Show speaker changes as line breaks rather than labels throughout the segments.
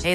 Hey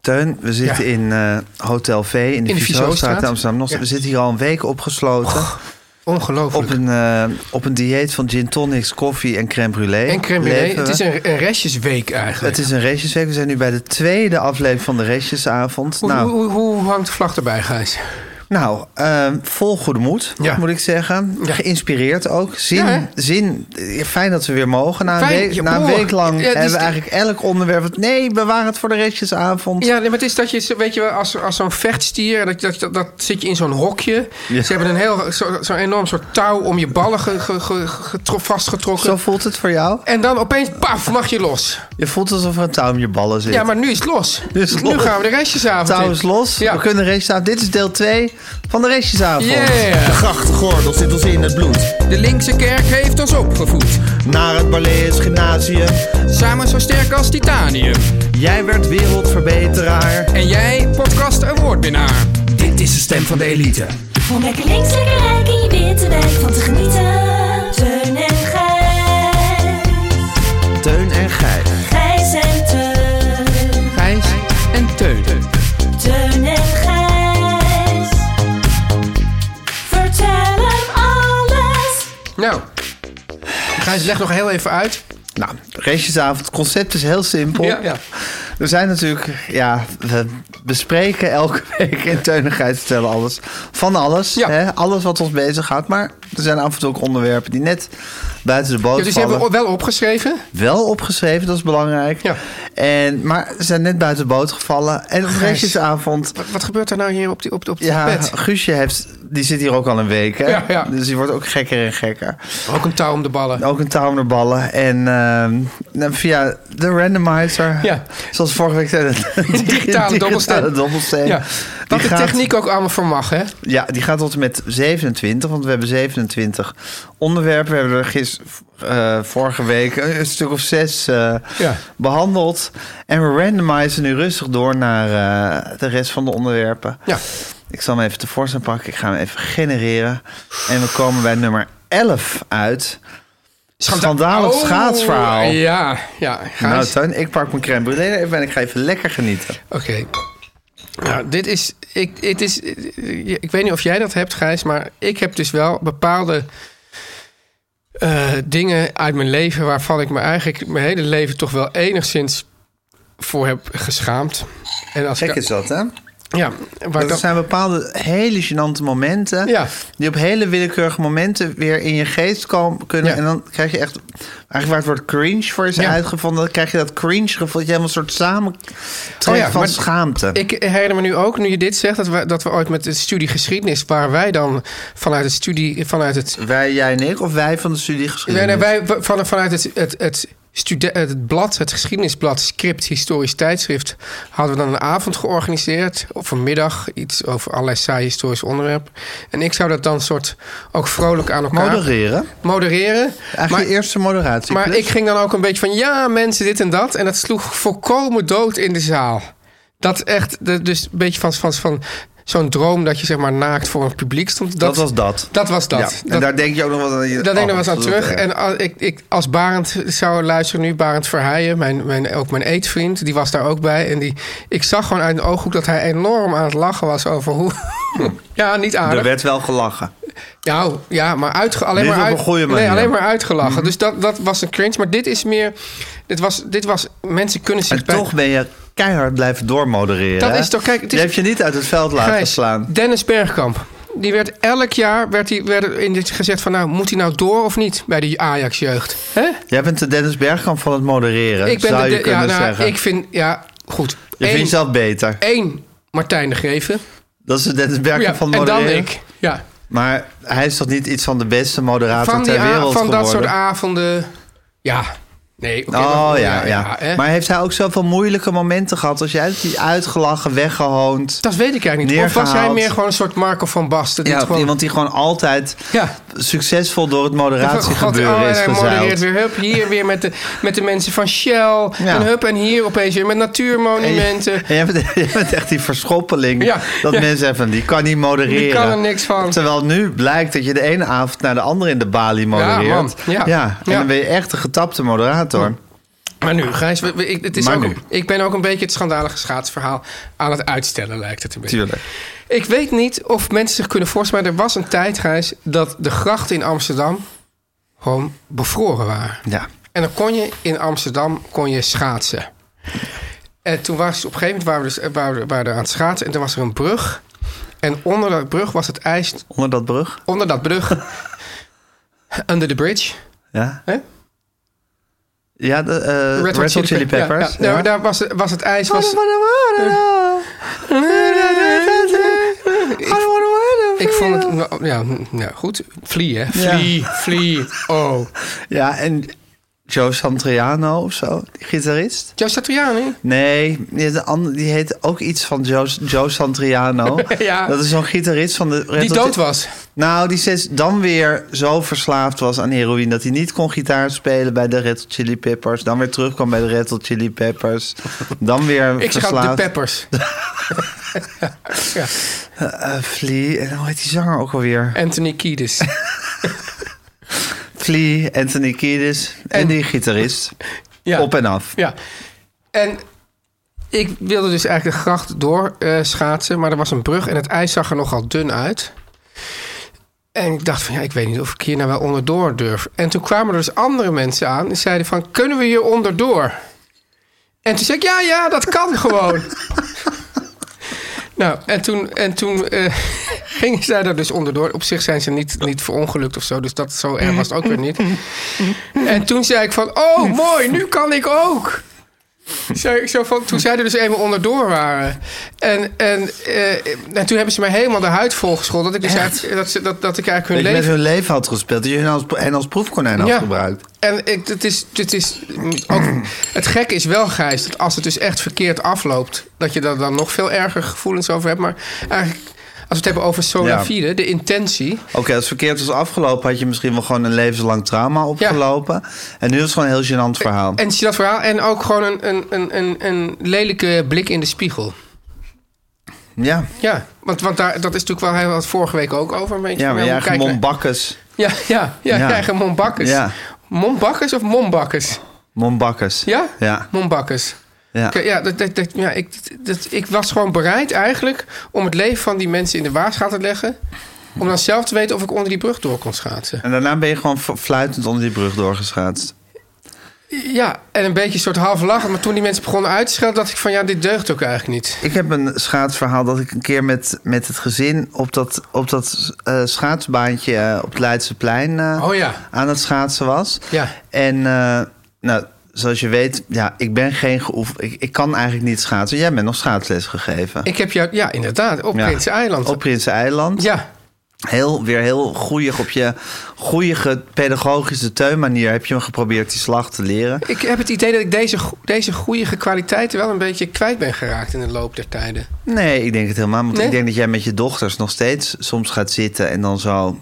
Teun, we zitten in eh, Hotel V in de,
In de
Vizostraat
Vizostraat.
Amsterdam. Noord.
Ja. Oh,
We zitten hier al een week opgesloten op
Ongelooflijk.
een, eh, op een dieet van gin tonics, koffie en crème brûlée.
en crème brûlée.
Leven
Het
we.
is een, een restjesweek eigenlijk.
Het is een restjesweek. We zijn nu bij de tweede aflevering van de restjesavond.
Hoe,
nou,
hoe, hoe hangt de vlag erbij, Gijs?
nou eh, vol goede moed,
Ja.
moet ik zeggen.
Ja.
Geïnspireerd ook. Zin,
Ja, hè?
zin. eh, Fijn dat we weer mogen. Na een,
Fijn,
week,
ja,
na een
hoor.
week lang
Ja, het is
hebben we
de-
eigenlijk elk onderwerp... wat- Nee, bewaar het voor de restjesavond.
Ja, nee, maar het is dat je, zo- weet je wel, als, als zo'n vechtstier, dat, dat, dat, dat zit je in zo'n hokje.
Ja.
Ze hebben een heel, zo- zo'n enorm soort touw om je ballen ge, ge- ge- getro- vastgetrokken.
Zo voelt het voor jou?
En dan opeens, paf, mag je los.
Je voelt alsof er een touw om je ballen zit.
Ja, maar nu is het los.
Nu is het los.
gaan we de restjesavond
Touw
in.
is los.
Ja.
We kunnen de race aan. Dit is deel 2 van de raceavond.
Yeah.
Grachtgordel zit ons in het bloed.
De linkse kerk heeft ons opgevoed.
Naar het Balees Gymnasium.
Samen zo sterk als titanium.
Jij werd wereldverbeteraar.
En jij, podcast een woordwinnaar.
Dit is de stem van de elite.
Om lekker links, lekker rijk in je witte wijk van te genieten. Teun en Gijs.
Teun en Gijs.
Gijs en Teun.
Gijs en Teun.
Teun en Gijs. Vertel hem alles.
Nou, Gijs, leg nog heel even uit.
Nou, raceavond. Het concept is heel simpel.
Ja, ja.
We zijn natuurlijk... Ja, we bespreken elke week in Teun en Gijs vertellen alles. Van alles.
Ja.
Hè? Alles wat ons bezighoudt. Maar er zijn af en toe ook onderwerpen die net buiten de boot
Ja, dus je
vallen.
hebt wel opgeschreven.
Wel opgeschreven, dat is belangrijk.
Ja.
En, maar ze zijn net buiten de boot gevallen. En op
Gijs.
raceavond...
Wat, wat gebeurt er nou hier op, die, op, op het
Ja,
bed?
Guusje heeft, die zit hier ook al een week. Hè?
Ja, ja.
Dus die wordt ook gekker en gekker.
Ook een touw om de ballen.
Ook een touw naar ballen. En ehm, nou, via de randomizer.
Ja.
Zoals vorige week zei. De
Digitale dobbelsteen.
dobbelsteen.
Ja. Wat
Die
de
gaat-
techniek ook allemaal voor mag, hè?
Ja, die gaat tot en met 27. Want we hebben 27 onderwerpen. We hebben er gis, eh, vorige week een stuk of zes eh,
Ja.
behandeld. En we randomizen nu rustig door naar eh, de rest van de onderwerpen.
Ja.
Ik zal hem even tevoorschijn pakken. Ik ga hem even genereren. En we komen bij nummer 11 uit. Schandalig
Oh,
schaatsverhaal.
Ja, ja.
Nou,
Gijs.
Tuin, ik pak mijn crème brûlée even en ik ga even lekker genieten.
Oké. Nou, dit is ik, dit is... ik weet niet of jij dat hebt, Gijs, maar ik heb dus wel bepaalde eh, dingen uit mijn leven... waarvan ik me eigenlijk mijn hele leven toch wel enigszins voor heb geschaamd. En als
Gek
ik,
is dat, hè?
Ja, waar
Dat
dan-
zijn bepaalde hele gênante momenten...
Ja.
die op hele willekeurige momenten weer in je geest komen, kunnen.
Ja.
En dan krijg je echt... Eigenlijk waar het woord cringe voor is
Ja.
uitgevonden... dan krijg je dat cringe gevoel... dat je helemaal een soort samentrekt
Oh ja,
van
maar-
schaamte.
Ik herinner me nu ook, nu je dit zegt, dat we, dat we ooit met de studie geschiedenis, waar wij dan vanuit het studie, vanuit het.
Wij, jij en ik, of wij van de studie
Nee,
geschiedenis?
nee, wij van, vanuit het, het, het, stude, het blad, het geschiedenisblad, script, historisch tijdschrift, hadden we dan een avond georganiseerd, of een middag, iets over allerlei saaie historische onderwerpen. En ik zou dat dan soort ook vrolijk aan elkaar
Modereren.
modereren.
Eigenlijk
Maar-
je eerste moderatie.
Maar ik ging dan ook een beetje van ja, mensen, dit en dat. En dat sloeg volkomen dood in de zaal. Dat echt, de- dus een beetje van, van, van zo'n droom dat je zeg maar naakt voor een publiek stond. Dat,
was dat.
Dat was dat.
Ja, en
dat,
daar denk je ook nog wat aan.
daar denk ik nog wel eens aan
Oh,
terug.
ja.
En al- ik, ik, als Barend zou luisteren nu, Barend Verheijen, mijn, mijn, ook mijn eetvriend, die was daar ook bij. En die, ik zag gewoon uit de ooghoek dat hij enorm aan het lachen was over hoe, Ja, niet aardig.
Er werd wel gelachen.
Nou, ja, maar uitge alleen,
Niet
maar,
op
uit
een goede
nee,
manier. Mhm.
alleen maar uitgelachen. Dus dat, dat was een cringe. Maar dit is meer... Dit was... Dit was mensen kunnen zich
En toch ben je keihard blijven doormodereren.
Dat
hè?
is toch- kijk, het is-
Je hebt je niet uit het veld laten
Gijs,
slaan.
Dennis Bergkamp. Die werd elk jaar werd die, werd er in dit gezegd van... nou, moet hij nou door of niet bij die Ajax-jeugd? Hè?
Jij bent de Dennis Bergkamp van het modereren, zou
de-
je
de-
kunnen
ja, nou,
zeggen.
Ik vind... Ja, goed.
je vindt
Eén,
jezelf beter.
één Martijn de Greven.
Dat is de Dennis Bergkamp
Ja,
van
en dan
modereren.
ik. Ja.
Maar hij is toch niet iets van de beste moderator
Van, die
ter
a-
wereld
van dat soort
geworden?
avonden... Ja. Nee. oké,
Oh
maar-
ja, ja.
hè?
maar heeft hij ook zoveel moeilijke momenten gehad als jij? Die uitgelachen, weggehoond.
Dat weet ik eigenlijk niet. Of was hij
Neergehaald.
meer gewoon een soort Marco van Basten? die
Ja,
het gewoon...
iemand die gewoon altijd
Ja.
succesvol door het
God,
moderatiegebeuren
oh, en
is
hij modereert
gezeild.
weer. Hup, hier weer met de, met de mensen van Shell. En hup, en hier opeens weer met
En je-
natuurmonumenten.
En jij, bent, jij bent echt die verschoppeling.
Ja,
dat
ja.
mensen zeggen, van, die kan niet modereren.
Die kan er niks van.
Terwijl nu blijkt dat je de ene avond naar de andere in de balie modereert.
man. Ja.
en
Ja.
dan ben je echt een getapte moderator.
Maar nu, Gijs, we- we- ik, het is
Maar
ook,
nu.
ik ben ook een beetje het schandalige schaatsverhaal aan het uitstellen, lijkt het een beetje.
Tuurlijk.
Ik weet niet of mensen zich kunnen voorstellen, maar er was een tijd, Gijs, dat de grachten in Amsterdam gewoon bevroren waren.
Ja.
En dan kon je in Amsterdam kon je schaatsen. En toen was op een gegeven moment waren we, dus, waren, we- waren we aan het schaatsen en toen was er een brug. En onder dat brug was het ijs,
Onder dat brug.
onder dat brug, under the bridge.
Ja.
Hè?
Ja, de, eh, Red, Hot Chili, Peppers.
Ja, nou, Daar, daar was, was het ijs. Was, ik vond het, nou, ja, nou, goed. Vlie, hè? Vlie, vlie, oh.
Ja, en Joe Santriano of zo, die gitarist.
Joe Satriani?
Nee, die heet, een ander- die heet ook iets van Joe, Joe Santriano.
Ja.
Dat is zo'n gitarist van de... Red
Die
Hot-
dood was.
Nou, die steeds dan weer zo verslaafd was aan heroïne... dat hij niet kon gitaar spelen bij de Red Hot Chili Peppers. Dan weer terugkwam bij de Red Hot Chili Peppers. Dan weer
Ik zeg
verslaafd.
altijd de peppers. ja.
Eh, Flea, en hoe heet die zanger ook alweer?
Anthony Kiedis.
Flea, Anthony Kiedis en,
En-
die gitarist.
Ja.
Op en af.
Ja. En ik wilde dus eigenlijk de gracht door eh, schaatsen, maar er was een brug en het ijs zag er nogal dun uit. En ik dacht van ja, ik weet niet of ik hier nou wel onderdoor durf. En toen kwamen er dus andere mensen aan en zeiden van kunnen we hier onderdoor? En toen zei ik ja, ja, dat kan gewoon. nou, en toen, en toen eh, gingen zij daar dus onderdoor. Op zich zijn ze niet, niet verongelukt of zo, dus dat zo erg was het ook weer niet. En toen zei ik van, oh mooi, nu kan ik ook. Zei ik zo van, toen zij er dus even onderdoor waren. En, en, eh, en toen hebben ze mij helemaal de huid volgeschold. Dat ik, dus eigenlijk- dat, ze- dat, dat ik
Dat
eigenlijk
je
hun
met
leven...
hun leven had gespeeld. Dat je hen als, hen als proefkonijn had
Ja.
gebruikt.
En ik, het, is, het, is ook, het gekke is wel, Gijs, dat als het dus echt verkeerd afloopt... dat je daar dan nog veel erger gevoelens over hebt. Maar eigenlijk, als we het hebben over Solavide, de intentie...
Oké, als het verkeerd was afgelopen... had je misschien wel gewoon een levenslang trauma opgelopen. En nu is het gewoon een heel gênant verhaal.
En zie dat verhaal. En ook gewoon een, een, een, een, een lelijke blik in de spiegel.
ja.
Ja, want, want daar, dat is natuurlijk wel... Hij had het vorige week ook over. Een beetje
ja,
van,
maar je
hoe
eigen
kijken wij-
mombakkes.
Ja, ja, ja,
Ja.
je eigen mombakkers.
Ja.
Mombakkers of mombakkers?
Mombakkers.
Ja?
Ja.
Mombakkers.
ja.
Oké, Ja, dat, dat, dat- ja ik, dat, ik was gewoon bereid eigenlijk om het leven van die mensen in de waagschaal te leggen. Om dan zelf te weten of ik onder die brug door kon schaatsen.
En daarna ben je gewoon f- fluitend onder die brug doorgeschaatst.
Ja, en een beetje een soort half lachen. Maar toen die mensen begonnen uit te schelden, dacht ik van ja, dit deugt ook eigenlijk niet.
Ik heb een schaatsverhaal dat ik een keer met, met het gezin... op dat, op dat eh, schaatsbaantje eh, op het Leidseplein eh,
Oh ja.
aan het schaatsen was.
Ja.
En eh, nou, zoals je weet, ja, ik ben geen geoefend... Ik, ik kan eigenlijk niet schaatsen. Jij bent nog schaatsles gegeven.
Ik heb jou, ja, inderdaad, op
Ja.
Prinseneiland.
Op Prinseneiland.
Ja,
Heel, weer heel goeig op je goeige pedagogische teunmanier... heb je hem geprobeerd die slag te leren.
ik heb het idee dat ik deze, go- deze goede kwaliteiten wel een beetje kwijt ben geraakt in de loop der tijden.
Nee, ik denk het helemaal. Want
Nee?
ik denk dat jij met je dochters nog steeds soms gaat zitten en dan zo.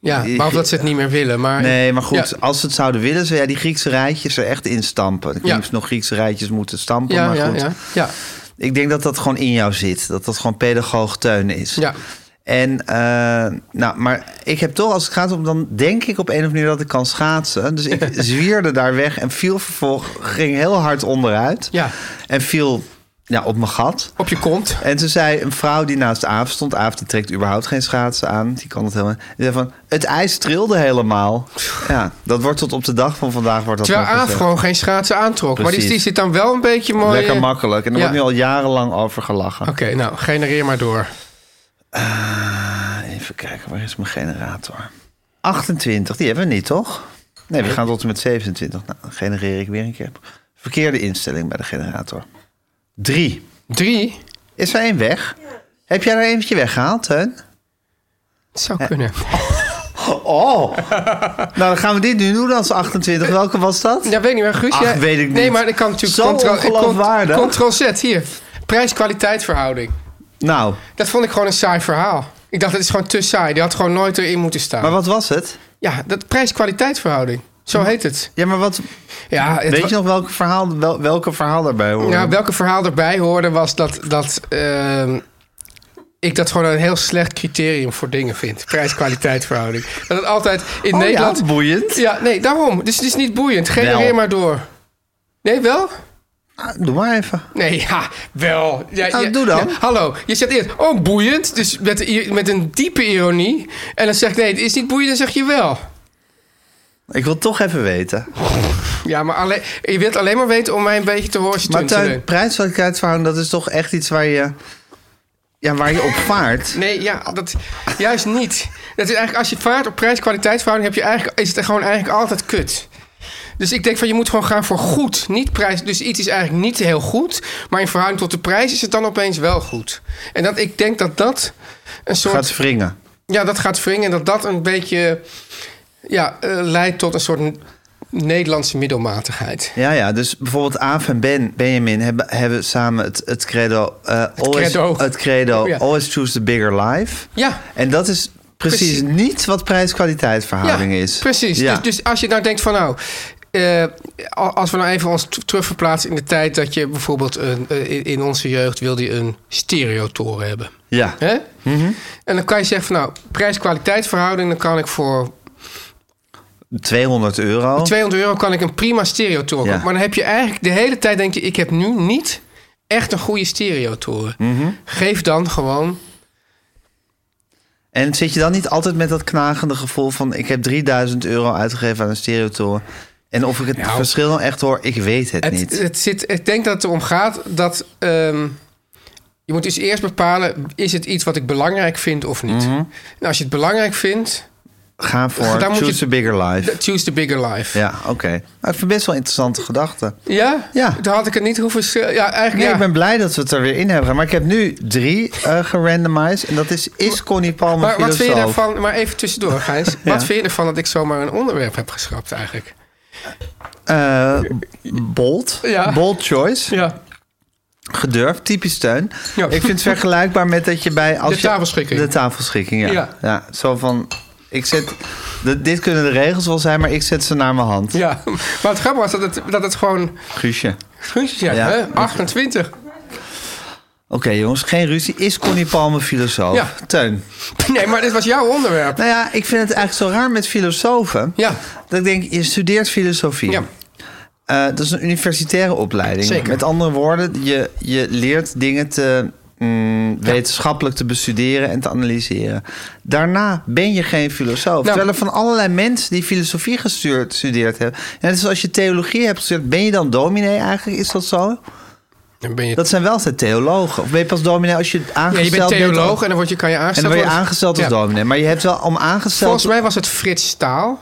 Ja,
Ik-
behalve dat ze het niet meer willen. Maar,
Nee, maar goed,
Oh Ja.
als ze het zouden willen, zou jij die Griekse rijtjes er echt in stampen. Ik weet
Ja.
niet of ze nog Griekse rijtjes moeten stampen,
Ja,
maar
ja,
goed.
ja, ja,
Ik denk dat dat gewoon in jou zit. Dat dat gewoon pedagoog teun is.
ja.
En, eh, nou, maar ik heb toch, als het gaat om, dan denk ik op een of andere manier dat ik kan schaatsen. Dus ik zwierde daar weg en viel vervolgens, ging heel hard onderuit.
Ja.
En viel ja, op mijn gat.
Op je kont.
En toen zei een vrouw die naast Aaf stond... Aaf die trekt überhaupt geen schaatsen aan. Die kan het helemaal niet. Die zei van, het ijs trilde helemaal. Ja, dat wordt tot op de dag van vandaag... Wordt dat
Terwijl
nog
Aaf
gezegd.
gewoon geen schaatsen aantrok. Maar die,
Precies.
die zit dan wel een beetje mooi...
Lekker
eh,
makkelijk. En er
ja.
wordt nu al jarenlang over gelachen.
Oké, nou, genereer maar door.
Even kijken, waar is mijn generator? 28, die hebben we niet, toch? Nee, we gaan tot en met 27. Nou, dan genereer ik weer een keer. Verkeerde instelling bij de generator. 3.
Drie?
Is er één weg? Heb jij er eentje weggehaald, Teun?
Het zou kunnen.
Oh! nou, dan gaan we dit nu doen als 28. Welke was dat?
Ja, weet ik niet meer, Guus.
Ach,
jij-
weet ik
Nee,
niet.
maar ik kan natuurlijk...
Zo
control- eh, cont-
ongeloofwaardig.
Control Z, hier. Prijs-kwaliteit verhouding.
Nou,
Dat vond ik gewoon een saai verhaal. Ik dacht, het is gewoon te saai. Die had gewoon nooit erin moeten staan.
maar wat was het?
Ja, dat prijs-kwaliteit verhouding. Zo heet het.
Ja, maar wat,
Ja, het wa-
weet je nog welke verhaal, wel, welke verhaal daarbij hoort?
Ja, welke verhaal erbij hoorde was dat, dat ehm, ik dat gewoon een heel slecht criterium voor dingen vind. Prijs-kwaliteit verhouding. Dat het altijd in
oh,
Nederland...
Ja,
Ja,
boeiend.
nee, daarom. Dus het is niet boeiend. Genereer
Wel.
maar door. Nee, wel?
Ah, Doe maar even.
Nee, ja, wel. Ja,
Nou,
ja,
doe dan.
ja, hallo, je zegt eerst, oh, boeiend. Dus met, i- met een diepe ironie. En dan zeg ik, nee, het is niet boeiend. Dan zeg je wel.
Ik wil toch even weten.
Ja, maar alleen, je wilt alleen maar weten om mij een beetje te horen
Maar
te
tuin, prijskwaliteitsverhouding, dat is toch echt iets waar je, ja, waar je op vaart?
Nee, ja, dat, juist niet. Dat is eigenlijk, als je vaart op prijs-kwaliteitsverhouding, heb je eigenlijk, is het gewoon eigenlijk altijd kut. Dus ik denk van je moet gewoon gaan voor goed, niet prijs. Dus iets is eigenlijk niet heel goed, maar in verhouding tot de prijs is het dan opeens wel goed. En dat, ik denk dat dat een soort.
Gaat wringen.
Ja, dat gaat wringen en dat dat een beetje ja, eh, leidt tot een soort N- Nederlandse middelmatigheid.
Ja, ja, dus bijvoorbeeld Aaf en ben, Benjamin hebben, hebben samen het, het credo... eh, always,
credo. Oh
Het credo,
Ja.
always choose the bigger life.
Ja.
En dat is precies,
Precies.
niet wat prijs-kwaliteitsverhouding
ja,
is.
Precies.
Ja.
Dus, dus als je nou denkt van nou. eh, al- als we nou even ons t- terugverplaatsen in de tijd dat je bijvoorbeeld een, eh, in- in onze jeugd wilde je een stereotoren hebben.
ja.
Hè?
Mhm.
En dan kan je zeggen van nou, prijs-kwaliteit verhouding, dan kan ik voor
200 euro.
200 euro kan ik een prima stereotoren
Oh. Ja.
kopen. Maar dan heb je eigenlijk de hele tijd denk je, ik heb nu niet echt een goede stereotoren.
Mhm.
Geef dan gewoon
En zit je dan niet altijd met dat knagende gevoel van... ik heb 3000 euro uitgegeven aan een stereotoren... en of ik het
Nou.
verschil nou echt hoor, ik weet het,
Het,
niet.
het zit, ik denk dat het erom gaat dat ehm, je moet dus eerst bepalen: is het iets wat ik belangrijk vind of niet?
Mhm.
En als je het belangrijk vindt,
Ga voor
Daar moet
choose
je-
the bigger life.
dan choose the bigger life.
Ja, oké. Nou, ik vind best wel interessante gedachten.
Ja?
Ja.
Dan had ik het niet hoeven. sch- Ja, eigenlijk.
Nee,
ja.
ik ben blij dat we het er weer in hebben. Maar ik heb nu drie eh gerandomized. En dat is, is Connie Palmer
maar wat vind je
filosoof?
daarvan? Maar even tussendoor, Gijs. Wat vind je ervan dat ik zomaar een onderwerp heb geschrapt eigenlijk?
Eh, bold.
Ja.
Bold choice.
Ja.
Gedurfd. Typisch steun.
Ja.
Ik vind het vergelijkbaar met dat je bij... Als
De
je-
tafelschikking.
De tafelschikking, ja.
Ja.
ja. Zo van... Ik zet, de- dit kunnen de regels wel zijn, maar ik zet ze naar mijn hand.
Ja. Maar het grappige was dat het, dat het gewoon.
Guusje.
Ja,
Ja.
hè? 28.
Oké jongens, geen ruzie. Is Connie Palmer filosoof?
Ja.
Teun.
Nee, maar dit was jouw onderwerp.
Nou ja, ik vind het eigenlijk zo raar met filosofen.
Ja.
Dat ik denk, je studeert filosofie.
Ja.
Eh, dat is een universitaire opleiding.
Zeker.
Met andere woorden, je, je leert dingen te, mm, wetenschappelijk te bestuderen en te analyseren. Daarna ben je geen filosoof.
Nou.
Terwijl er van allerlei mensen die filosofie gestuurd, gestudeerd hebben. En net zoals je theologie hebt gestudeerd, ben je dan dominee eigenlijk? Is dat zo?
Dan ben je.
Dat zijn wel altijd theologen. Of ben je pas dominee als je
ja,
aangesteld
je bent
bent?
theoloog en dan word je, kan je
En
aangesteld
dan word je
worden-
aangesteld als
Ja.
dominee. Maar je hebt wel om aangesteld...
Volgens mij was het Frits Staal.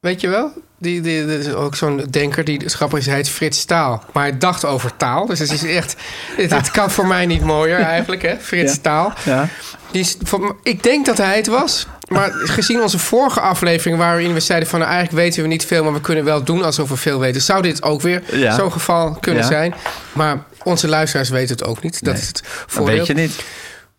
Weet je wel? Die, die, dat is ook zo'n denker die het grappig is, hij heet Frits Staal. Maar hij dacht over taal. Dus het is echt. Het, het kan voor mij niet mooier eigenlijk, hè? Frits Staal.
Ja.
Die is, voor- ik denk dat hij het was. Maar gezien onze vorige aflevering, waarin we zeiden van nou, eigenlijk weten we niet veel, maar we kunnen wel doen alsof we veel weten, zou dit ook weer
Ja.
zo'n geval kunnen
Ja.
zijn. Maar onze luisteraars weten het ook niet. Dat
Nee.
is het
Dat
voordeel.
weet je niet.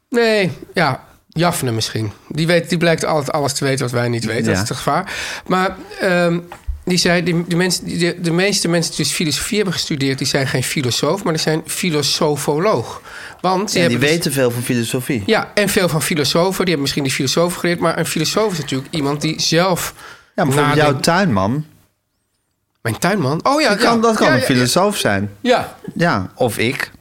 Nee, ja. Jafne misschien. Die, weet, die blijkt altijd alles te weten wat wij niet weten. Dat
Ja.
is het gevaar. Maar ehm, die zei, die, die mensen, die- de, de meeste mensen die dus filosofie hebben gestudeerd... die zijn geen filosoof, maar die zijn filosofoloog. Want
En
die,
die
hebben dus-
weten veel van filosofie.
ja, en veel van filosofen. Die hebben misschien die filosofen geleerd. Maar een filosoof is natuurlijk iemand die zelf...
Ja, bijvoorbeeld
nadenkt.
jouw tuinman.
Mijn tuinman? Oh ja,
Dat kan,
Nou, ja.
dat kan
Ja,
een
ja,
filosoof zijn.
Ja,
Ja, of ik.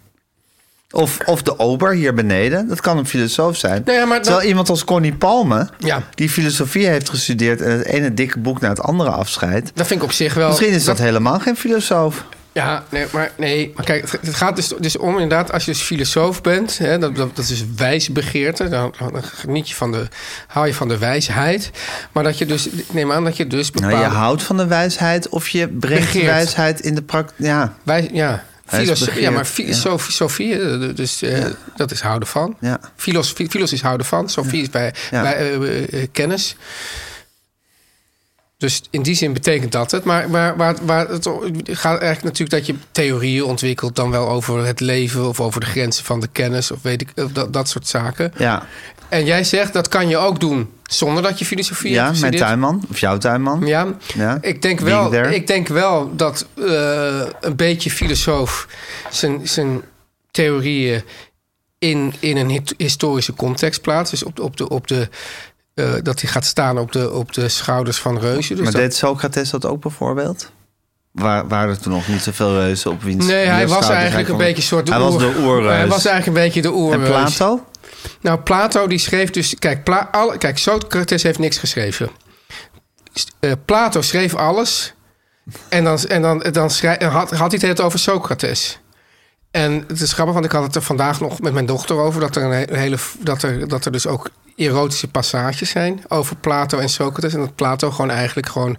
Of, of de ober hier beneden. Dat kan een filosoof zijn.
Nou ja, maar dan-
Terwijl iemand als Connie Palme,
Ja.
die filosofie heeft gestudeerd... en het ene dikke boek naar het andere afscheidt.
Dat vind ik op zich wel...
Misschien is dat helemaal geen filosoof.
Ja, nee, maar, nee, maar kijk, het- het gaat dus, dus om inderdaad, als je dus filosoof bent, hè, dat, dat, dat is wijsbegeerte, dan, dan geniet je van de, hou je van de wijsheid. Maar dat je dus, ik neem aan dat je dus bepaalde...
Nou, je houdt van de wijsheid of je brengt
Begeert.
de wijsheid in de praktijk. Ja,
wij, ja, filos,
Wijsbegeerte,
ja, maar
ja.
filosofie, Sofie, eh, dus eh, dat is houden van.
Ja.
Filos, fi- filos is houden van, Sofie is bij,
Ja.
bij eh, eh, eh, kennis. Dus in die zin betekent dat het. Maar, maar waar, waar het o- het gaat eigenlijk natuurlijk dat je theorieën ontwikkelt... dan wel over het leven of over de grenzen van de kennis... of weet ik, of dat, dat soort zaken.
ja.
En jij zegt, dat kan je ook doen zonder dat je filosofie hebt
ja mijn
gestudeerd.
tuinman of jouw tuinman.
Ja,
Ja,
Ik, denk
being
wel,
there.
ik denk wel dat eh, een beetje filosoof zijn, zijn theorieën in, in een hit- historische context plaatst. Dus op, de- op de, op de, eh, dat hij gaat staan op de, op de schouders van reuzen. Dus
maar
dat-
deed Socrates dat ook bijvoorbeeld? Waar, waren er toen nog niet zoveel reuzen op wiens
nee, hij
wiens
was
schouders
eigenlijk een
kon-
beetje een soort
Hij was de oerreus.
Hij was eigenlijk een beetje de
en
oerreus.
Plato?
Nou, Plato die schreef dus... Kijk, Pla, alle- kijk Socrates heeft niks geschreven. St- eh, Plato schreef alles. En dan, en dan, dan schrij- had, had hij het het over Socrates. En het is grappig, want ik had het er vandaag nog met mijn dochter over... dat er, een he- een hele, dat er, dat er dus ook erotische passages zijn over Plato en Socrates. En dat Plato gewoon eigenlijk gewoon...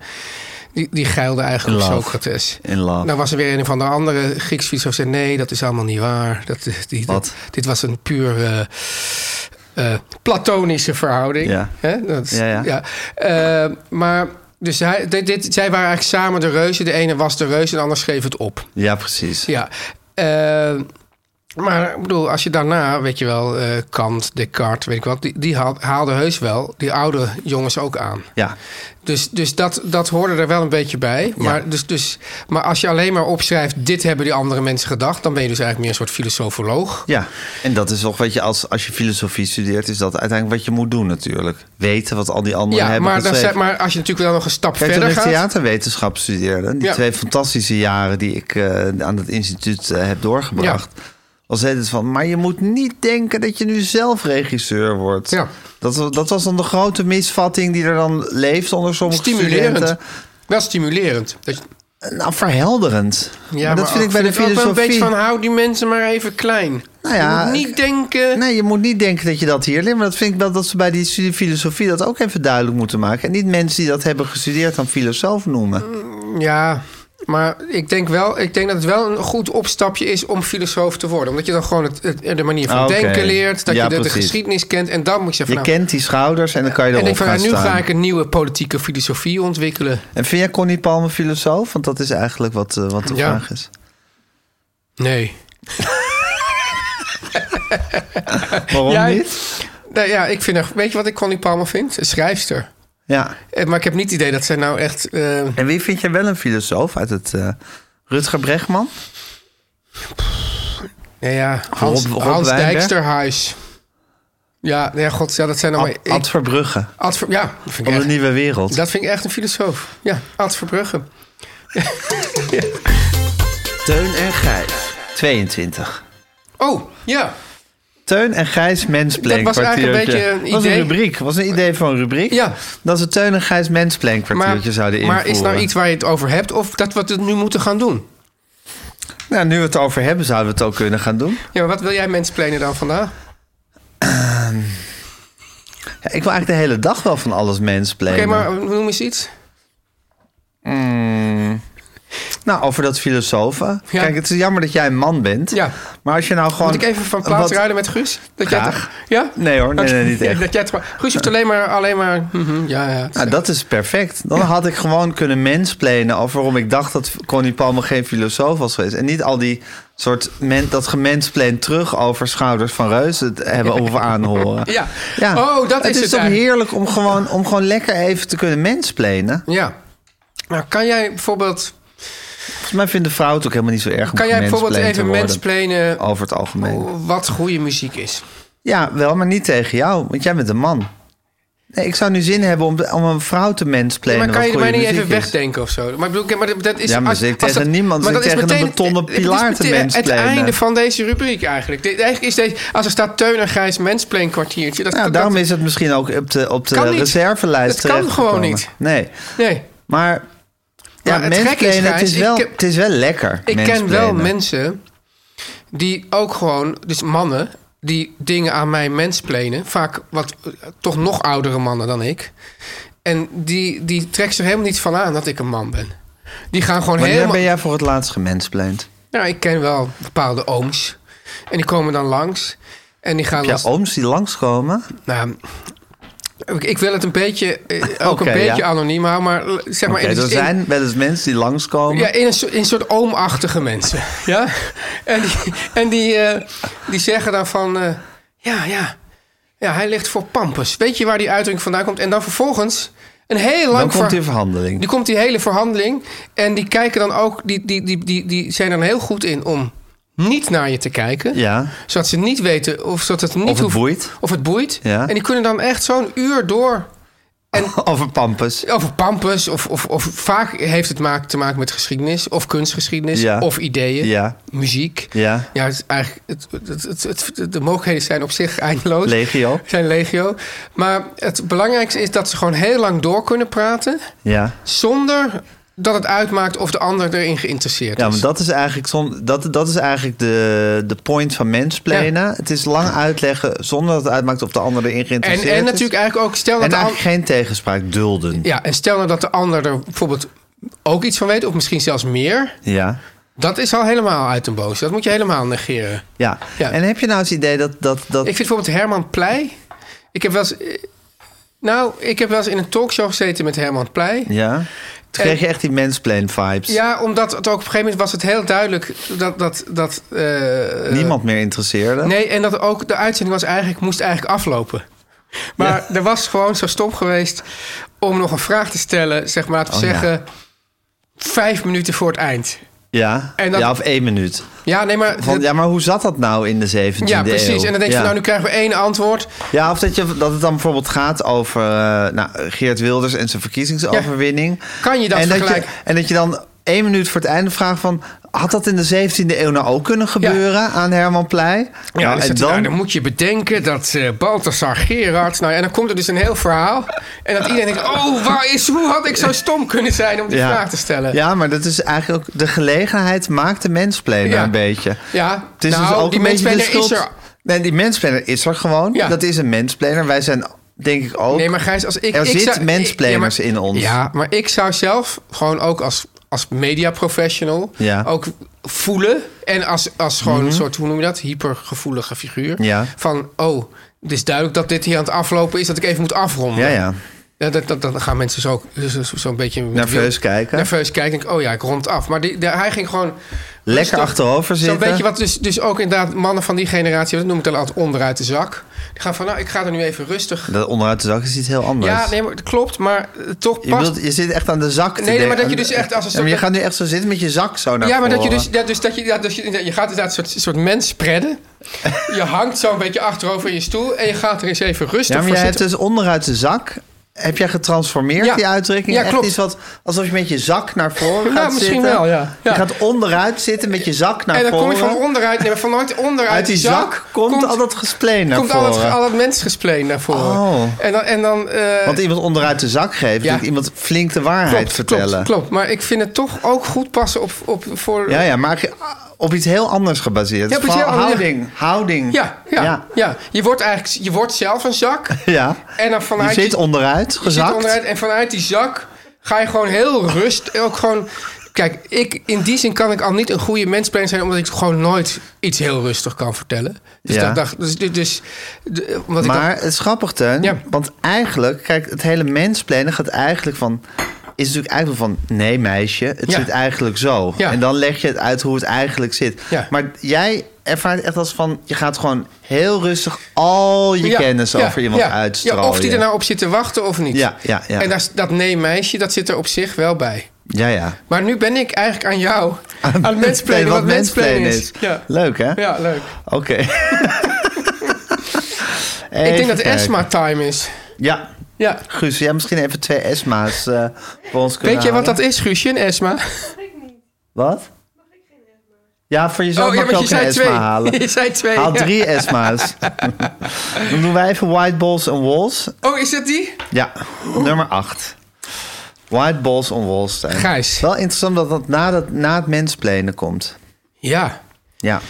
Die, die geilde eigenlijk op
Love.
Socrates.
In love.
Nou was er weer een van de andere Grieks filosoof zei... nee, dat is allemaal niet waar. Dat, die, dit-
Wat?
dit was een puur eh, eh, platonische verhouding.
Ja.
Hè? Dat is-
Ja, ja.
Eh, maar dus hij, dit, dit- zij waren eigenlijk samen de reuzen. De ene was de reus en de ander schreef het op.
ja, precies.
Ja. Eh, maar ik bedoel, als je daarna, weet je wel, eh, Kant, Descartes, weet ik wat... die, die haal- haalden heus wel die oude jongens ook aan.
Ja.
Dus, dus dat, dat hoorde er wel een beetje bij. Maar, dus, dus, maar als je alleen maar opschrijft... dit hebben die andere mensen gedacht... dan ben je dus eigenlijk meer een soort filosofoloog.
Ja, en dat is toch wat je als, als je filosofie studeert, is dat uiteindelijk wat je moet doen natuurlijk. Weten wat al die anderen
Ja,
hebben
maar, dan,
geschreven.
zeg- maar als je natuurlijk wel nog een stap
Kijk, toen
verder
ik
gaat...
theaterwetenschap studeerde, die
Ja.
twee fantastische jaren die ik eh, aan het instituut eh, heb doorgebracht, was het van, maar je moet niet denken dat je nu zelf regisseur wordt.
Ja.
Dat, wa- dat was dan de grote misvatting die er dan leeft onder sommige
Stimulerend.
studenten.
Wel stimulerend. Dat je-
Nou, verhelderend.
ja,
maar dat
maar
vind ik
ook-
bij de
ook wel
filosofie.
een beetje van hou die mensen maar even klein.
Nou ja,
je moet niet denken...
Nee, je moet niet denken dat je dat hier leert. Maar dat vind ik wel dat ze bij die studie filosofie dat ook even duidelijk moeten maken. En niet mensen die dat hebben gestudeerd dan filosoof noemen.
Mm, Ja, maar ik denk, wel, ik denk dat het wel een goed opstapje is om filosoof te worden. Omdat je dan gewoon het, het- de manier van
Ah, Oké.
denken leert. Dat
Ja,
je de, de
precies.
geschiedenis kent. En dan moet je
Je
zeggen... van, nou,
kent die schouders en dan kan je erop
en ik van,
gaan
nou, nu
staan.
ga ik een nieuwe politieke filosofie ontwikkelen.
En vind jij Connie Palme filosoof? Want dat is eigenlijk wat, eh, wat de
Ja.
vraag is.
Nee.
Waarom
Jij?
niet?
Nou ja, ik vind, haar- weet je wat ik Connie Palmer vind? Een schrijfster.
Ja.
Eh, Maar ik heb niet het idee dat zij nou echt... eh,
En wie vind jij wel een filosoof uit het... eh, Rutger Bregman?
Nou ja, Hans,
Rob
Hans
Wijnberg?
Dijksterhuis. Ja, nou ja, god, ja, dat zijn allemaal...
Ad, Ad
ik-
Verbrugge.
Ad Ver- ja, dat vind,
Van
ik
de
echt,
Nieuwe Wereld.
dat vind ik echt een filosoof. Ja, Ad Verbrugge.
Teun en Gijs. 22.
Oh, ja.
Teun en Gijs Mensplank
Dat was eigenlijk een
kwartiertje.
beetje een
was een
idee.
rubriek. was een idee voor een rubriek.
Ja.
Dat ze Teun en Gijs Mensplank kwartiertje zouden
Maar,
invoeren.
maar is nou iets waar je het over hebt of dat we het nu moeten gaan doen?
Nou, nu we het over hebben, zouden we het ook kunnen gaan doen.
Ja, maar wat wil jij mensplenen dan vandaag?
Ja, ik wil eigenlijk de hele dag wel van alles
Oké,
mensplannen.
maar noem eens iets.
Nou, over dat filosofen.
Ja.
Kijk, het is jammer dat jij een man bent.
Ja.
Maar als je nou gewoon...
Moet ik even van plaats
wat-
ruilen met Guus? Dat jij
Graag.
het- ja?
Nee hoor, nee, nee, niet echt.
dat jij het, Guus hoeft alleen maar... Alleen maar mhm, ja, ja.
Nou, dat is perfect. Dan had ik gewoon kunnen mensplenen over waarom ik dacht dat Connie Palmer geen filosoof was geweest. En niet al die soort men, dat gemenspleen terug over schouders van reuzen het hebben hoeven aanhoren.
Ja. Oh, dat is
het.
het
is toch
eigenlijk.
heerlijk om gewoon, om gewoon lekker even te kunnen mensplenen.
Ja. Nou, kan jij bijvoorbeeld...
Volgens mij vinden vrouwen het ook helemaal niet zo erg om
Kan jij bijvoorbeeld
gemansplained te
even
worden.
mensplenen
Over het algemeen.
wat goede muziek is?
Ja, wel, maar niet tegen jou, want jij bent een man. Nee, ik zou nu zin hebben om, om een vrouw te mensplannen.
maar kan
wat
je er maar
goede
niet even
muziek is.
wegdenken of zo? Maar, ik bedoel, maar dat is,
Ja, maar zit tegen niemand, zit
is
tegen een betonnen
het is
pilaar te
meteen Het
mansplainen.
einde van deze rubriek eigenlijk. Dit, eigenlijk is deze, als er staat Teun en Gijs mensplain kwartiertje. Dat,
Nou,
dat-
daarom is het misschien ook op de, op de
Kan niet.
reservelijst
Dat kan gewoon
terechtgekomen.
niet.
Nee,
Nee,
maar... Ja,
Maar het gekke is,
mansplainen, het,
Gijs,
is wel,
ik heb-
het is wel lekker.
ik ken wel
mansplainen.
mensen die ook gewoon, dus mannen, die dingen aan mij mensplainen. Vaak wat, eh, toch nog oudere mannen dan ik. En die, die trekt zich helemaal niet van aan dat ik een man ben. Die gaan gewoon
Wanneer
helemaal...
ben jij voor het laatst gemensplained?
Nou, ik ken wel bepaalde ooms. En die komen dan langs. En die gaan
Heb
als-
je ooms die langskomen?
Nou, ik, ik wil het een beetje, eh, ook
Oké,
een beetje
ja.
anoniem houden, maar l- zeg maar...
Oké,
in,
er
in-
zijn wel eens mensen die langskomen.
ja, in een, soort- in een soort oomachtige mensen. Ja? En die, en die, eh, die zeggen dan van... eh, ja, ja, ja, hij ligt voor pampers. Weet je waar die uitdrukking vandaan komt? En dan vervolgens een heel
dan
lang...
komt
ver-
die verhandeling.
die komt die hele verhandeling. En die kijken dan ook, die, die, die, die, die zijn er dan heel goed in om niet naar je te kijken.
Ja.
Zodat ze niet weten of zodat het niet
Of het
hoeft-
boeit.
Of het boeit.
Ja.
En die kunnen dan echt zo'n uur door.
Over pampers.
Over pampus. Of, of, of vaak heeft het maak, te maken met geschiedenis. Of kunstgeschiedenis.
Ja.
Of ideeën.
Ja.
Muziek.
Ja.
Ja, het is eigenlijk, het, het, het, het- de mogelijkheden zijn op zich eindeloos.
Legio.
Zijn legio. Maar het belangrijkste is dat ze gewoon heel lang door kunnen praten
Ja.
zonder dat het uitmaakt of de ander erin geïnteresseerd is.
Ja, maar dat is eigenlijk, zon, dat, dat is eigenlijk de, de point van mensplannen. Het is lang uitleggen zonder dat het uitmaakt of de ander erin
en,
geïnteresseerd is.
en natuurlijk eigenlijk ook, stel dat,
dus- En
de an-
eigenlijk geen tegenspraak dulden.
ja, en stel nou dat de ander er bijvoorbeeld ook iets van weet, of misschien zelfs meer.
Ja.
Dat is al helemaal uit een boos. Dat moet je helemaal negeren.
Ja.
Ja.
En heb je nou het idee dat... dat, dat
Ik vind bijvoorbeeld Herman Pleij. Ik heb wel eens. eh, Nou, ik heb wel eens in een talkshow gezeten met Herman Pleij.
ja. Toen kreeg je echt die mensplain vibes.
Ja, omdat het ook op een gegeven moment was het heel duidelijk dat. dat, dat eh,
Niemand meer interesseerde.
Nee, en dat ook de uitzending was eigenlijk, moest eigenlijk aflopen. Maar er was gewoon zo stom geweest om nog een vraag te stellen, zeg maar, laten we
Oh, ja.
zeggen, vijf minuten voor het eind.
Ja.
En dat-
ja, of één minuut.
Ja, nee, maar.
Van, ja, maar hoe zat dat nou in de 17e
ja,
eeuw?
precies. En dan denk je,
Ja.
van, nou, nu krijgen we één antwoord.
Ja, of dat, je, dat het dan bijvoorbeeld gaat over eh, nou, Geert Wilders en zijn verkiezingsoverwinning.
Kan je dat
en dat je,
vergelijken?
en dat je dan één minuut voor het einde vraagt van... had dat in de 17e eeuw nou ook kunnen gebeuren aan Herman Pleij?
Ja,
Nou,
dan,
en
zegt hij, nou,
dan,
dan moet je bedenken dat eh Balthasar Gerard. Nou, ja, en dan komt er dus een heel verhaal. En dat iedereen denkt: oh, waar is, hoe had ik zo stom kunnen zijn om die vraag te stellen?
Ja, maar dat is eigenlijk ook... de gelegenheid maakt de mensplanner
Ja.
een beetje.
Ja,
Het is
nou,
dus ook
die
een beetje de
mensplanner is
schuld...
er.
Nee, die mensplanner is er gewoon.
Ja.
Dat is een mensplanner. Wij zijn, denk ik, ook...
Nee, maar Gijs, als ik...
Er
ik
zit
zou-
mansplainers
ja, maar-
in ons.
Ja, maar ik zou zelf gewoon ook als, als mediaprofessional...
Ja. Mhm.
ook voelen... en als, als gewoon een soort, hoe noem je dat? Hypergevoelige figuur.
Ja.
Van, oh, het is duidelijk dat dit hier aan het aflopen is... dat ik even moet afronden.
Ja, ja.
Ja, dat, dat, dan gaan mensen dus zo zo'n zo, zo'n beetje... met
Nerveus
wild-
kijken.
Nerveus kijken. Denk, ik, oh ja, ik rond af. Maar die, de- hij ging gewoon...
Lekker achterover zitten.
Zo'n beetje wat dus, dus ook inderdaad mannen van die generatie... dat noem ik dan altijd onderuit de zak. Die gaan van, nou, ik ga er nu even rustig...
Dat onderuit de zak is iets heel anders.
Ja, nee, maar dat klopt, maar eh, toch
Je,
past...
bedoelt, je zit echt aan de zak. te
Nee, nee, maar
denken.
dat je dus echt als een
Ja, maar je
soort-
gaat nu echt zo zitten met je zak zo naar
ja, maar dat je
voren.
dus, dat dus dat je, ja, dus je, je gaat inderdaad een soort, soort mens spreiden. je hangt zo'n beetje achterover in je stoel en je gaat er eens even rustig
Ja, maar
voor
jij hebt
zitten.
dus onderuit de zak. Heb jij getransformeerd
Ja.
die uitdrukking?
Ja,
Echt
klopt.
iets wat alsof je met je zak naar voren
Ja,
gaat
misschien
zitten.
wel, ja. Ja.
Je gaat onderuit zitten met je zak naar
En dan
voren.
kom je van onderuit, nee, maar vanuit onderuit
Uit die
de
zak, komt, al dat gespleen naar
komt
voren.
al dat, al dat mensgespleen naar voren.
Oh.
En dan... En dan eh,
Want iemand onderuit de zak geeft,
Ja.
moet iemand flink de waarheid vertellen.
Klopt, klopt, maar ik vind het toch ook goed passen op, op voor...
Ja, ja, maar ge- op iets heel anders gebaseerd.
Ja, op iets
Vooral
heel anders, ja.
houding, houding.
Ja, ja, ja. Je wordt eigenlijk je wordt zelf een zak.
Ja.
En dan vanuit
je zit onderuit,
Je zit
gezakt.
onderuit en vanuit die zak ga je gewoon heel rust. Ook gewoon, kijk, ik, in die zin kan ik al niet een goede mensbrein zijn, omdat ik gewoon nooit iets heel rustig kan vertellen. Dus
Ja.
dat dacht dus, dus, dus de- omdat ik
Maar
dacht-
het is grappig, Teun.
Ja.
Want eigenlijk, kijk, het hele mensplannen gaat eigenlijk van... is natuurlijk eigenlijk van, nee meisje, het
Ja.
zit eigenlijk zo.
Ja.
En dan leg je het uit hoe het eigenlijk zit.
Ja.
Maar jij ervaart echt als van... je gaat gewoon heel rustig al je
Ja,
kennis
ja,
over iemand
ja,
uitstrooien.
Ja, of die er nou op zit te wachten of niet.
Ja, ja, ja.
En daar, is- dat nee meisje, dat zit er op zich wel bij.
Ja, ja.
Maar nu ben ik eigenlijk aan jou, aan het
Mansplainen,
mensplannen wat mensplannen
mansplainen
is. Ja.
Leuk, hè?
ja, leuk.
Oké.
ik denk
Even
dat
kijken.
Esma time is.
Ja,
Ja.
Guus, jij misschien even twee ESMA's eh voor ons kunnen
Weet je wat
halen?
dat is, Guusje en Esma?
Wat? Ja, voor jezelf
Oh ja,
mag je
want je
ook een
zei
ESMA
twee.
halen.
Je zei twee.
Haal
ja.
drie ESMA's. Dan doen wij even White Balls on Walls.
Oh, is dat die?
Ja, nummer acht. White Balls on Walls. Stijn.
Gijs.
Wel interessant dat dat na, dat, na het mensplenen komt.
Ja.
Ja.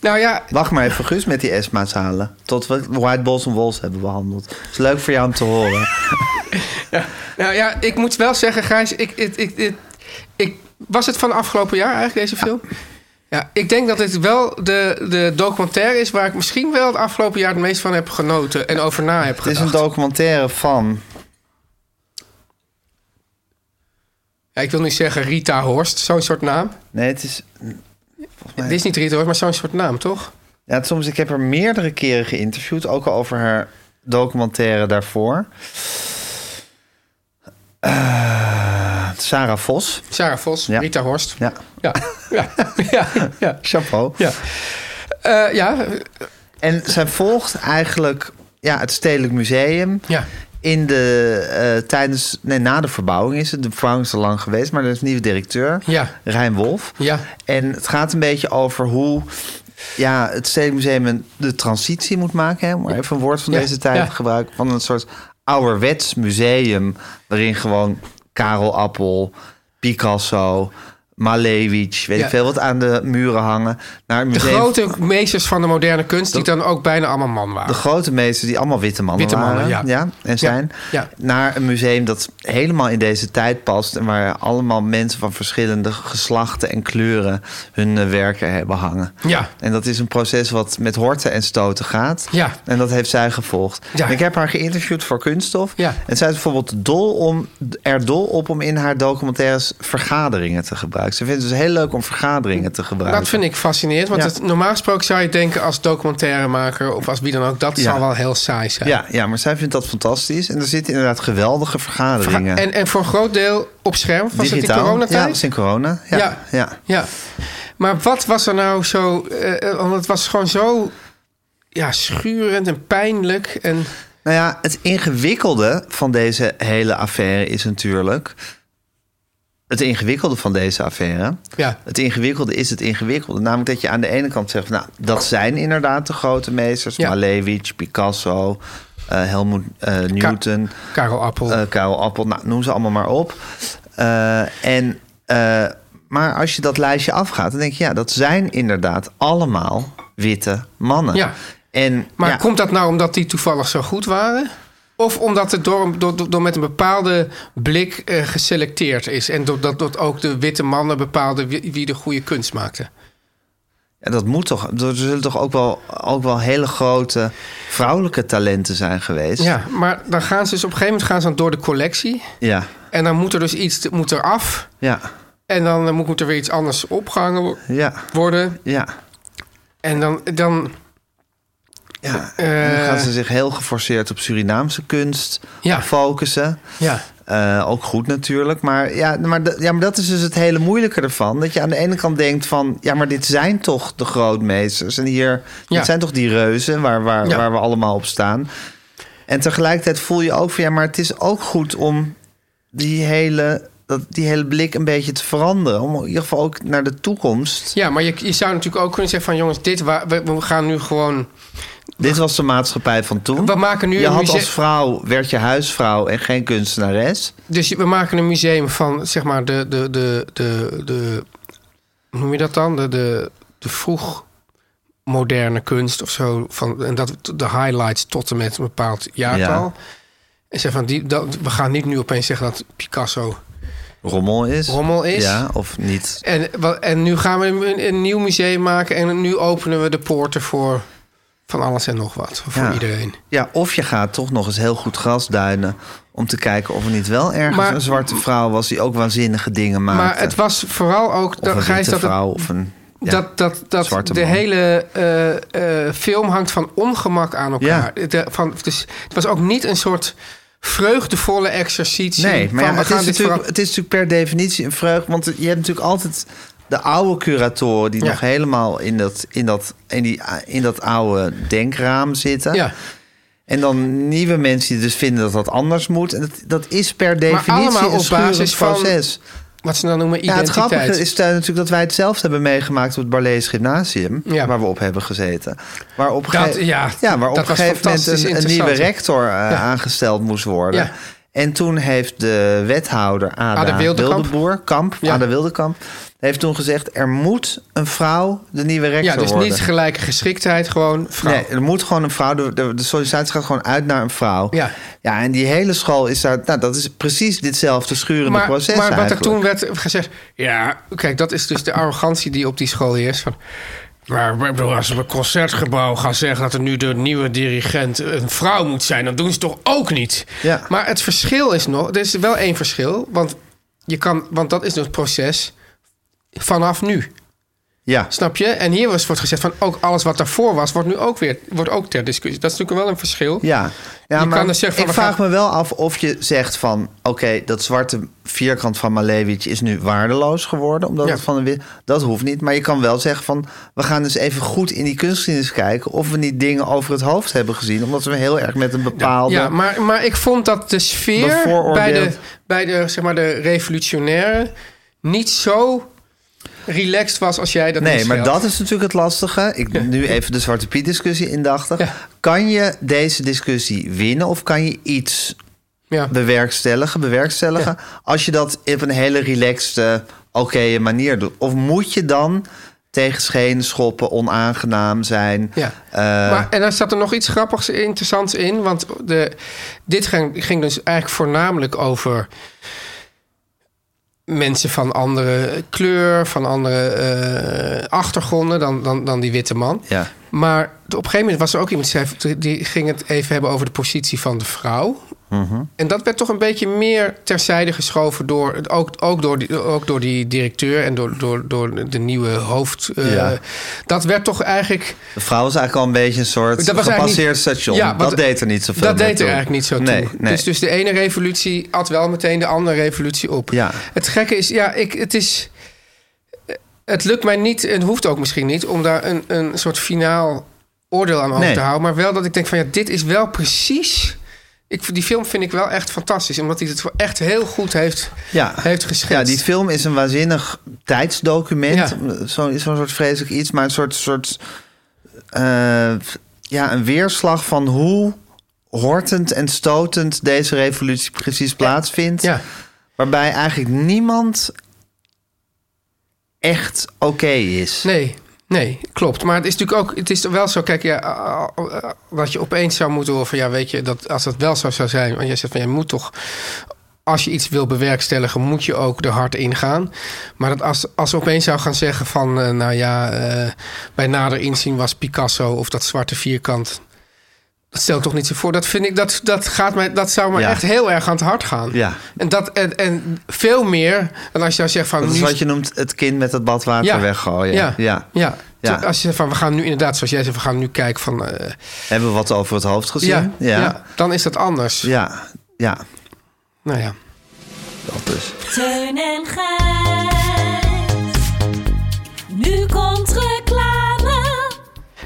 Nou ja,
Wacht maar even, Guus, met die ESMA's halen. Tot we White Balls on Walls hebben behandeld. is leuk voor jou om te horen.
nou ja, ik moet wel zeggen, Gijs, ik, ik, ik, ik, ik- was het van afgelopen jaar eigenlijk, deze film? Ja, ik denk dat dit wel de, de documentaire is waar ik misschien wel het afgelopen jaar het meest van heb genoten en over na heb
Het is
gedacht.
een documentaire van...
ja, ik wil niet zeggen Rita Horst, zo'n soort naam.
Nee, het is...
Dit is niet Rita Horst, maar zo'n soort naam, toch?
Ja, soms, ik heb haar meerdere keren geïnterviewd. Ook al over haar documentaire daarvoor. Eh, Sarah Vos.
Sarah Vos,
Ja.
Rita Horst.
Ja,
Ja, ja, ja, ja.
chapeau.
Ja. Eh, ja,
En zij volgt eigenlijk ja, het Stedelijk Museum.
Ja.
In de, eh, tijdens, nee, na de verbouwing is het. De verbouwing is al lang geweest, maar er is een nieuwe directeur,
Ja.
Rijn Wolf.
Ja.
En het gaat een beetje over hoe ja, het Stedelijk Museum een- de transitie moet maken. Hè? om Maar even een woord van
Ja,
deze tijd
ja.
te gebruiken. Van een soort ouderwets museum, waarin gewoon Karel Appel, Picasso, Malevich, weet
Ja.
ik veel wat aan de muren hangen. Naar een
de
museum
grote meesters van de moderne kunst, die dan ook bijna allemaal man
de
waren.
grote meesters die allemaal witte mannen
Witte mannen,
waren.
ja.
en zijn.
ja.
Naar een museum dat helemaal in deze tijd past. En waar allemaal mensen van verschillende geslachten en kleuren hun eh, werken hebben hangen.
Ja.
En dat is een proces wat met horten en stoten gaat.
Ja.
En dat heeft zij gevolgd.
Ja.
En Ik heb haar geïnterviewd voor Kunststof.
Ja.
En zij is bijvoorbeeld dol om, er dol op om in haar documentaires vergaderingen te gebruiken. Ze vindt het dus heel leuk om vergaderingen te gebruiken.
Dat vind ik fascinerend, want
Ja.
het, normaal gesproken zou je denken als documentairemaker of als wie dan ook, dat
Ja.
zal wel heel saai zijn.
Ja, ja, maar zij vindt dat fantastisch. En er zitten inderdaad geweldige
Verga-
vergaderingen.
En, en voor een groot deel op scherm, was het in
Ja, dat
coronatijd?
is in corona. Ja, ja.
Ja. Ja. Maar wat was er nou zo, eh, eh, want het was gewoon zo ja, schurend en pijnlijk. En,
Nou ja, het ingewikkelde van deze hele affaire is natuurlijk... Het ingewikkelde van deze affaire...
ja.
Het ingewikkelde is het ingewikkelde. Namelijk dat je aan de ene kant zegt... nou, dat zijn inderdaad de grote meesters.
Ja.
Malevich, Picasso, eh, Helmut eh, Newton...
Karel Appel.
eh Karel Appel, nou, noem ze allemaal maar op. Eh, en, eh, maar als je dat lijstje afgaat, dan denk je, ja, dat zijn inderdaad allemaal witte mannen.
Ja.
En,
Maar
ja,
komt dat nou omdat die toevallig zo goed waren? Of omdat het door, door, door- door met een bepaalde blik eh, geselecteerd is? En doordat dat ook de witte mannen bepaalden wie, wie de goede kunst maakte?
ja, dat moet toch, er zullen toch ook wel, ook wel hele grote vrouwelijke talenten zijn geweest.
Ja, maar dan gaan ze dus op een gegeven moment gaan ze dan door de collectie.
Ja,
En dan moet er dus iets moet er af.
ja,
En dan eh, moet, moet er weer iets anders opgehangen wo-
ja,
worden.
ja.
En dan, dan
ja.
eh,
En dan gaan ze zich heel geforceerd op Surinaamse kunst
Ja.
focussen.
ja.
Eh, ook goed natuurlijk. Maar, ja, maar dat- ja, maar dat is dus het hele moeilijke ervan. Dat je aan de ene kant denkt van... ja, maar dit zijn toch de grootmeesters. En hier,
Ja.
dit zijn toch die reuzen waar, waar,
Ja.
waar we allemaal op staan. En tegelijkertijd voel je ook van... ja, maar het is ook goed om die hele, dat, die hele blik een beetje te veranderen. Om in ieder geval ook naar de toekomst.
ja, maar je, je zou natuurlijk ook kunnen zeggen van jongens, dit wa- we, we gaan nu gewoon...
Dit was de maatschappij van toen.
We maken nu
je
een
had
muse-
als vrouw, werd je huisvrouw en geen kunstenares.
Dus je- we maken een museum van, zeg maar, de, de, de, de, de hoe noem je dat dan? De, de, de vroeg moderne kunst of zo. Van, en dat de highlights tot en met een bepaald jaartal. En zeg van, die, dat, we gaan niet nu opeens zeggen dat Picasso...
Rommel is.
Rommel is.
Ja, of niet
En, wa- en nu gaan we een, een nieuw museum maken en nu openen we de poorten voor van alles en nog wat. Voor
Ja.
iedereen.
Ja, of je gaat toch nog eens heel goed gras duinen... om te kijken of er niet wel ergens
Maar-
een zwarte vrouw was... die ook waanzinnige dingen maakte.
Maar het was vooral ook...
of een
dat Gijs,
witte
dat het-
vrouw of een... ja.
dat dat, dat
zwarte
de
man.
hele eh, eh, film hangt van ongemak aan elkaar. De- van, dus het was ook niet een soort vreugdevolle exercitie.
Nee, maar
van,
ja,
we
het,
gaan
is
dit
natuurlijk,
veranderen.
het is natuurlijk per definitie een vreugd... want je hebt natuurlijk altijd de oude curatoren... die
Ja.
nog helemaal in dat, in, dat, in, die, in dat oude denkraam zitten...
Ja,
En dan nieuwe mensen die dus vinden dat dat anders moet. En dat, dat is per
allemaal
definitie
op
een schurend
basis van
proces.
Wat ze dan noemen
Ja, het
identiteit.
grappige is eh, natuurlijk dat wij het zelf hebben meegemaakt op het Barlees Gymnasium,
Ja.
waar we op hebben gezeten. Waar op, een
Dat-
gege-
ja,
waar op
dat
een
was
gegeven moment
fantastisch
een, een nieuwe
interessant.
rector eh, aangesteld moest worden.
Ja.
En toen heeft de wethouder Ada,
Ada Wildekamp.
Wildeboer, Kamp,
Ja.
Ada Wildekamp, heeft toen gezegd: er moet een vrouw de nieuwe rector
Ja, dus
worden.
niet gelijke geschiktheid, gewoon vrouw.
Nee, er moet gewoon een vrouw. De, de, de sollicitatie gaat gewoon uit naar een vrouw.
Ja.
ja, en die hele school is daar. Nou, dat is precies ditzelfde schurende
maar,
proces.
maar wat er
eigenlijk.
toen werd gezegd... Ja, kijk, dat is dus de arrogantie die op die school heerst. Van, maar ik bedoel, als we op een concertgebouw gaan zeggen... dat er nu de nieuwe dirigent een vrouw moet zijn... dan doen ze toch ook niet?
Ja.
Maar het verschil is nog... Er is wel één verschil, want, je kan, want dat is dus het proces vanaf nu.
Ja.
Snap je? En hier was, wordt gezegd van ook alles wat daarvoor was... wordt nu ook weer wordt ook ter discussie. Dat is natuurlijk wel een verschil.
Ja, ja
Je
maar
kan dus zeggen van,
ik
we
vraag
gaan-
me wel af of je zegt van... oké, dat zwarte vierkant van Malevich is nu waardeloos geworden... omdat
Ja.
het van een wit... Dat hoeft niet, maar je kan wel zeggen van... we gaan dus even goed in die kunstgeschiedenis kijken... of we niet dingen over het hoofd hebben gezien... omdat we heel erg met een bepaalde...
Ja, maar, maar ik vond dat de sfeer bij
Bevooroordeeld.
de, bij de, zeg maar, de revolutionaire niet zo relaxed was als jij dat nu
Nee, maar
stelt.
dat is natuurlijk het lastige. Ik nu even de Zwarte Piet discussie indachtig.
Ja.
Kan je deze discussie winnen of kan je iets
Ja.
bewerkstelligen, bewerkstelligen. Als je dat op een hele relaxte, oké manier doet. Of moet je dan tegen schenen schoppen, onaangenaam zijn?
Ja.
Eh,
maar, en daar zat er nog iets grappigs, interessants in. Want de, dit ging, ging dus eigenlijk voornamelijk over mensen van andere kleur, van andere eh, achtergronden dan, dan, dan die witte man.
Ja.
Maar op een gegeven moment was er ook iemand die, zei- die ging het even hebben over de positie van de vrouw.
Mhm.
En dat werd toch een beetje meer terzijde geschoven door het- ook, ook, door, die, ook door die directeur en door, door, door de nieuwe hoofd. eh,
Ja.
Dat werd toch eigenlijk.
De vrouw was eigenlijk al een beetje een soort
Dat was eigenlijk
gepasseerd
niet-
station.
Ja, want
dat deed er niet zoveel
Dat
mee
deed
toe.
er eigenlijk niet zo toe.
Nee, nee.
Dus, dus de ene revolutie at wel meteen de andere revolutie op.
Ja.
Het gekke is, ja, ik, het is... Het lukt mij niet, en hoeft ook misschien niet... om daar een, een soort finaal oordeel aan over
Nee.
te houden. Maar wel dat ik denk van, ja, dit is wel precies... Ik, die film vind ik wel echt fantastisch. Omdat hij het wel echt heel goed heeft,
ja.
heeft
Ja,
geschetst.
die film is een waanzinnig tijdsdocument.
Ja.
Zo- Zo'n soort vreselijk iets, maar een soort, soort eh, ja, een weerslag van hoe hortend en stotend deze revolutie precies plaatsvindt.
Ja.
Waarbij eigenlijk niemand echt oké is.
Nee, nee, klopt. Maar het is natuurlijk ook, het is wel zo, kijk, ja, eh, wat je opeens zou moeten horen van, ja, weet je, dat als dat wel zo zou zijn, want jij zegt van, je moet toch, als je iets wil bewerkstelligen, moet je ook er hard in gaan. Maar dat als, als ze opeens zou gaan zeggen van, eh, nou ja, eh, bij nader inzien was Picasso of dat zwarte vierkant. Dat stel ik toch niet zo voor. Dat vind ik, dat, dat gaat mij, dat zou me
Ja.
echt heel erg aan het hart gaan.
Ja.
En dat, en, en veel meer dan als je zou zeggen van.
Dat is
nu-
wat je noemt het kind met het badwater weggooien.
ja. Ja. ja.
Ja.
Te- Als je van we gaan nu inderdaad, zoals jij zei, we gaan nu kijken van. eh,
Hebben we wat over het hoofd gezien?
ja, ja.
ja.
dan is dat anders.
ja. ja.
Nou ja.
dat dus.
Teun en Gijs. Nu komt reclame.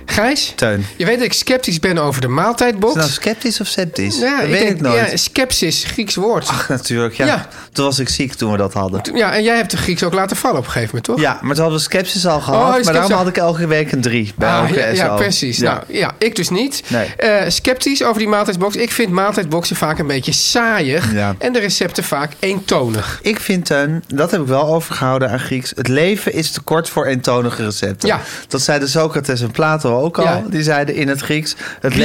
Gijs,
Teun, is
je weet dat ik sceptisch ben over de maaltijdbox.
het nou sceptisch of sceptisch?
ja,
dat
ik
weet
denk-
ik nooit.
Ja, sceptisch, Grieks woord.
Ach, natuurlijk, ja.
Ja.
Toen was ik ziek toen we dat hadden.
Ja, en jij hebt de Grieks ook laten vallen op een gegeven moment, toch?
Ja, maar toen hadden we skepsis al gehad.
Oh,
maar
skepsis
daarom
al.
had ik elke week een drie bij
Ah,
elke
ja, ja,
SO.
precies.
Ja.
Nou, ja, ik dus niet.
Nee.
Eh, sceptisch over die maaltijdbox. Ik vind maaltijdboxen vaak een beetje saaiig.
Ja.
En de recepten vaak eentonig.
Ik vind, Teun, dat heb ik wel overgehouden aan Grieks... het leven is te kort voor eentonige recepten.
Ja.
Dat zeiden Socrates en Plato ook al.
Ja.
Die zeiden in het Grieks... Het,
Bio,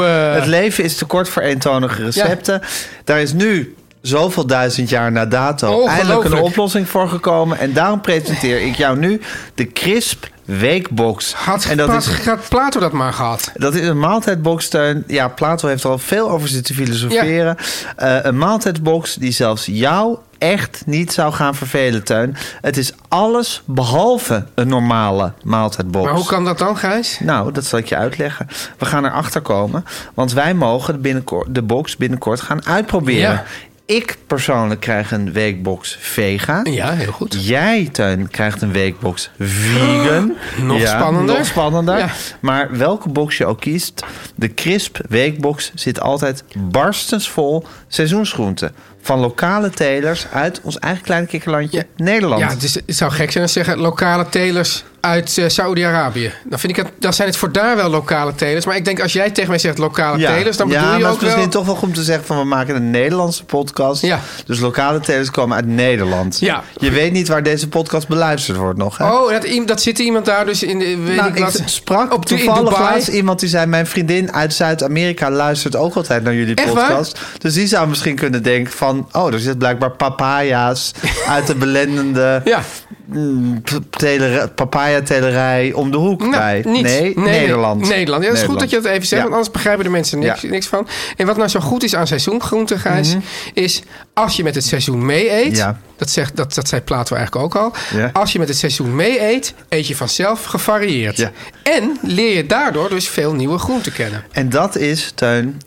leven,
eh.
het leven is te kort voor eentonige recepten. Daar is nu... Zoveel duizend jaar na dato
Ongelooflijk.
eindelijk een oplossing voor gekomen. En daarom presenteer ik jou nu de Crisp Weekbox.
Had,
en dat
Pla-
is
had Plato dat maar gehad.
Dat is een maaltijdboxsteun. Ja, Plato heeft er al veel over zitten filosoferen. Eh, een maaltijdbox die zelfs jou echt niet zou gaan vervelen, Teun. Het is alles behalve een normale maaltijdbox.
Maar hoe kan dat dan, Gijs?
Nou, dat zal ik je uitleggen. We gaan erachter komen, want wij mogen binnenkort, de box binnenkort gaan uitproberen.
Ja.
Ik persoonlijk krijg een weekbox vega.
Ja, heel goed.
Jij, Tuin, krijgt een weekbox vegan.
Nog spannender.
Nog spannender.
Ja.
Maar welke box je ook kiest, de crisp weekbox zit altijd barstensvol seizoensgroenten. Van lokale telers uit ons eigen kleine kikkerlandje
Ja.
Nederland.
Ja, het, is- het zou gek zijn als ze zeggen lokale telers uit eh, Saoedi-Arabië. Dan, vind ik het, dan zijn het voor daar wel lokale telers. Maar ik denk als jij tegen mij zegt lokale telers, dan bedoel
ja,
je
maar
ook
het is misschien
wel...
toch wel goed om te zeggen van we maken een Nederlandse podcast.
Ja.
Dus lokale telers komen uit Nederland.
Ja.
Je weet niet waar deze podcast beluisterd wordt nog. Hè?
Oh, dat, iem- dat zit iemand daar dus in de... Weet
Nou,
ik
ik
wat,
sprak
op de- in
toevallig
Dubai.
laatst iemand die zei... mijn vriendin uit Zuid-Amerika luistert ook altijd naar jullie
Echt waar?
podcast. Dus die zou misschien kunnen denken van... oh, er zit blijkbaar papaya's uit de belendende
Ja.
mm, p- teler- papaya-telerij om de hoek
Nou,
bij.
niets.
Nee, Nederland.
Nederland. Ja, het is goed dat je dat even zegt,
Ja.
want anders begrijpen de mensen niks,
Ja. Mhm.
niks van. En wat nou zo goed is aan seizoengroenten, Gijs, is als je met het seizoen mee eet,
Ja.
dat, zegt, dat, dat zei Plato eigenlijk ook al,
Ja.
als je met het seizoen mee eet, eet je vanzelf gevarieerd.
Ja.
En leer je daardoor dus veel nieuwe groenten kennen.
En dat is, Teun,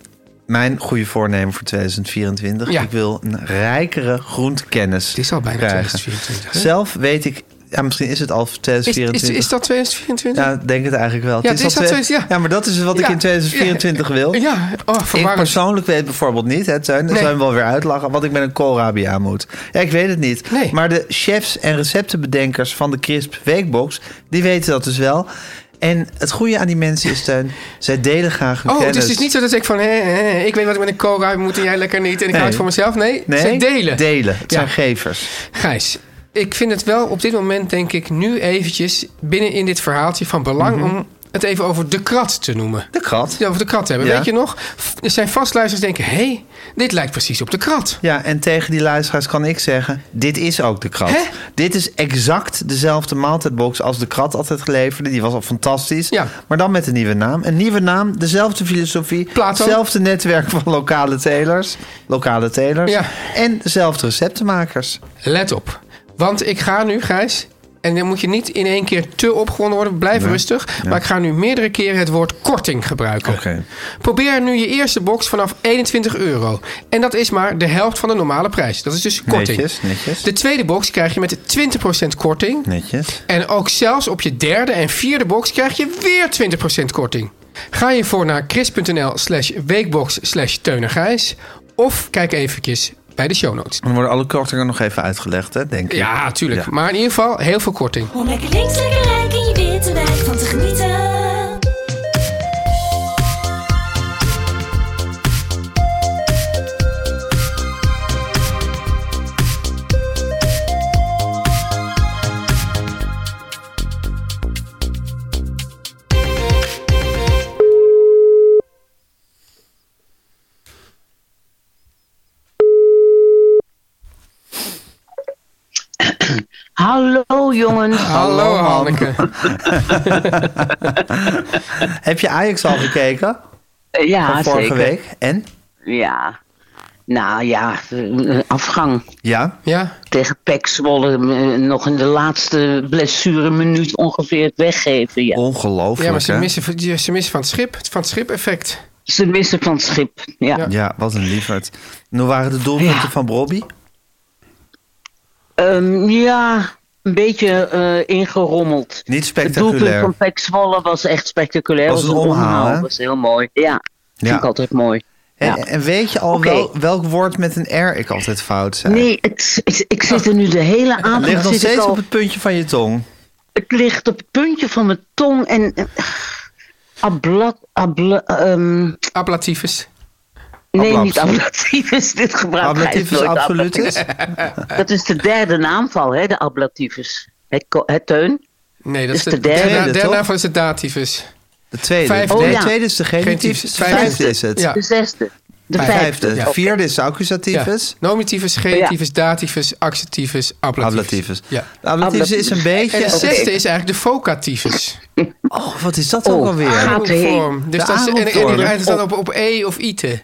mijn goede voornemen voor 2024.
Ja.
Ik wil een rijkere groentekennis
Het is al bijna
krijgen.
2024. hè?
Zelf weet ik... Ja, misschien is het al
Is, is,
2024.
is dat 2024?
Ja, ik denk het eigenlijk wel.
Ja, het is
al
dat
twee-
zoiets, ja.
maar dat is wat ik
Ja.
in 2024 wil.
Ja, oh,
Ik
verwarrend.
persoonlijk weet bijvoorbeeld niet, hè, Teun, dat
Nee.
zou hem wel weer uitlachen, wat ik met een koolrabi aan moet. Ja, ik weet het niet.
Nee.
Maar de chefs en receptenbedenkers van de Crisp Weekbox, die weten dat dus wel. En het goede aan die mensen is, Teun, zij delen graag hun
Oh, het
kennis.
is dus niet zo dat ik van, hé, hé, ik weet wat ik met een koolruim moet en jij lekker niet. En ik
Nee.
hou het voor mezelf. Nee,
Nee,
ze delen.
Delen. Het
Ja.
zijn gevers.
Gijs, ik vind het wel op dit moment, denk ik, nu eventjes binnen in dit verhaaltje van belang om het even over de krat te noemen.
De krat.
Ja, over de krat hebben.
Ja.
Weet je nog? F- Er zijn vastluisteraars die denken, hé, hey, dit lijkt precies op de krat.
Ja, en tegen die luisteraars kan ik zeggen: dit is ook de krat.
Hè?
Dit is exact dezelfde maaltijdbox als de krat altijd geleverde. Die was al fantastisch.
Ja.
Maar dan met een nieuwe naam. Een nieuwe naam, dezelfde filosofie,
Plato.
hetzelfde netwerk van lokale telers, lokale telers
Ja.
en dezelfde receptenmakers.
Let op. Want ik ga nu, Gijs, en dan moet je niet in één keer te opgewonden worden. Blijf rustig. Maar ik ga nu meerdere keren het woord korting gebruiken.
Oké.
Probeer nu je eerste box vanaf 21 euro. En dat is maar de helft van de normale prijs. Dat is dus korting.
Netjes, netjes.
De tweede box krijg je met 20% korting.
Netjes.
En ook zelfs op je derde en vierde box krijg je weer 20% korting. Ga je voor naar chris.nl slash weekbox slash teunengijs. Of kijk eventjes bij de show notes.
Dan worden alle kortingen nog even uitgelegd, hè, denk ik.
Ja, tuurlijk.
Ja.
Maar in ieder geval heel veel korting.
Om lekker links, lekker rijk in je witte wijk van te genieten.
Hallo jongens.
Hallo Hanneke.
Heb je Ajax al gekeken?
Ja,
van vorige
zeker.
week? En?
Ja. Nou ja, eh, afgang
Ja.
Ja,
tegen Pek Zwolle. eh, Nog in de laatste blessureminuut ongeveer het weggeven. Ja.
Ongelooflijk.
ja maar ze
hè?
missen, ze missen van het schip. Van het schip effect.
Ze missen van het schip. Ja.
Ja.
Ja, wat een lieverd. En hoe waren de doelpunten
Ja.
van Bobby?
Ehm, ja, een beetje eh, ingerommeld.
Niet
Het doelpunt
spectaculair.
van Pek Zwolle was echt spectaculair.
Was een omhaal, hè?
was heel mooi. Ja,
Ja. Eh,
vind ik altijd mooi. Ja.
En, en weet je al
Oké.
wel, welk woord met een R ik altijd fout zei?
Nee, het, ik, ik zit er nu de hele avond...
Ligt nog
zit ik
steeds
al- Ah,
op het puntje van je tong.
Het ligt op het puntje van mijn tong en... eh, Ablat, abla, ehm,
Ablativus.
nee,
Ablatief.
niet ablatief is dit gebruik.
Ablativus
Hij nooit
absolutus?
ablatief. Dat is de derde naamval, hè, de ablativus. Het, ko- het teun.
Nee, dat is
Is
de,
de derde,
daarna-
toch?
daarna van is het dativus.
De tweede.
Vijfde.
Nee,
Oh, ja.
de tweede is de genitief. De
Genitief.
vijfde is het.
Ja.
De zesde. De
De
vijfde.
vijfde. De vierde is de accusativus.
Ja. Nominativus, genitivus, dativus, accentivus, ablativus.
Ablativus.
Ja.
De ablativus is een
En de
beetje...
zesde is eigenlijk de vocativus.
Oh, wat is dat ook
Oh.
alweer?
Ah. Oké.
Vorm. Dus
De
dat is, en, en die
aanroepvorm.
rijdt dan op, op E of ITE.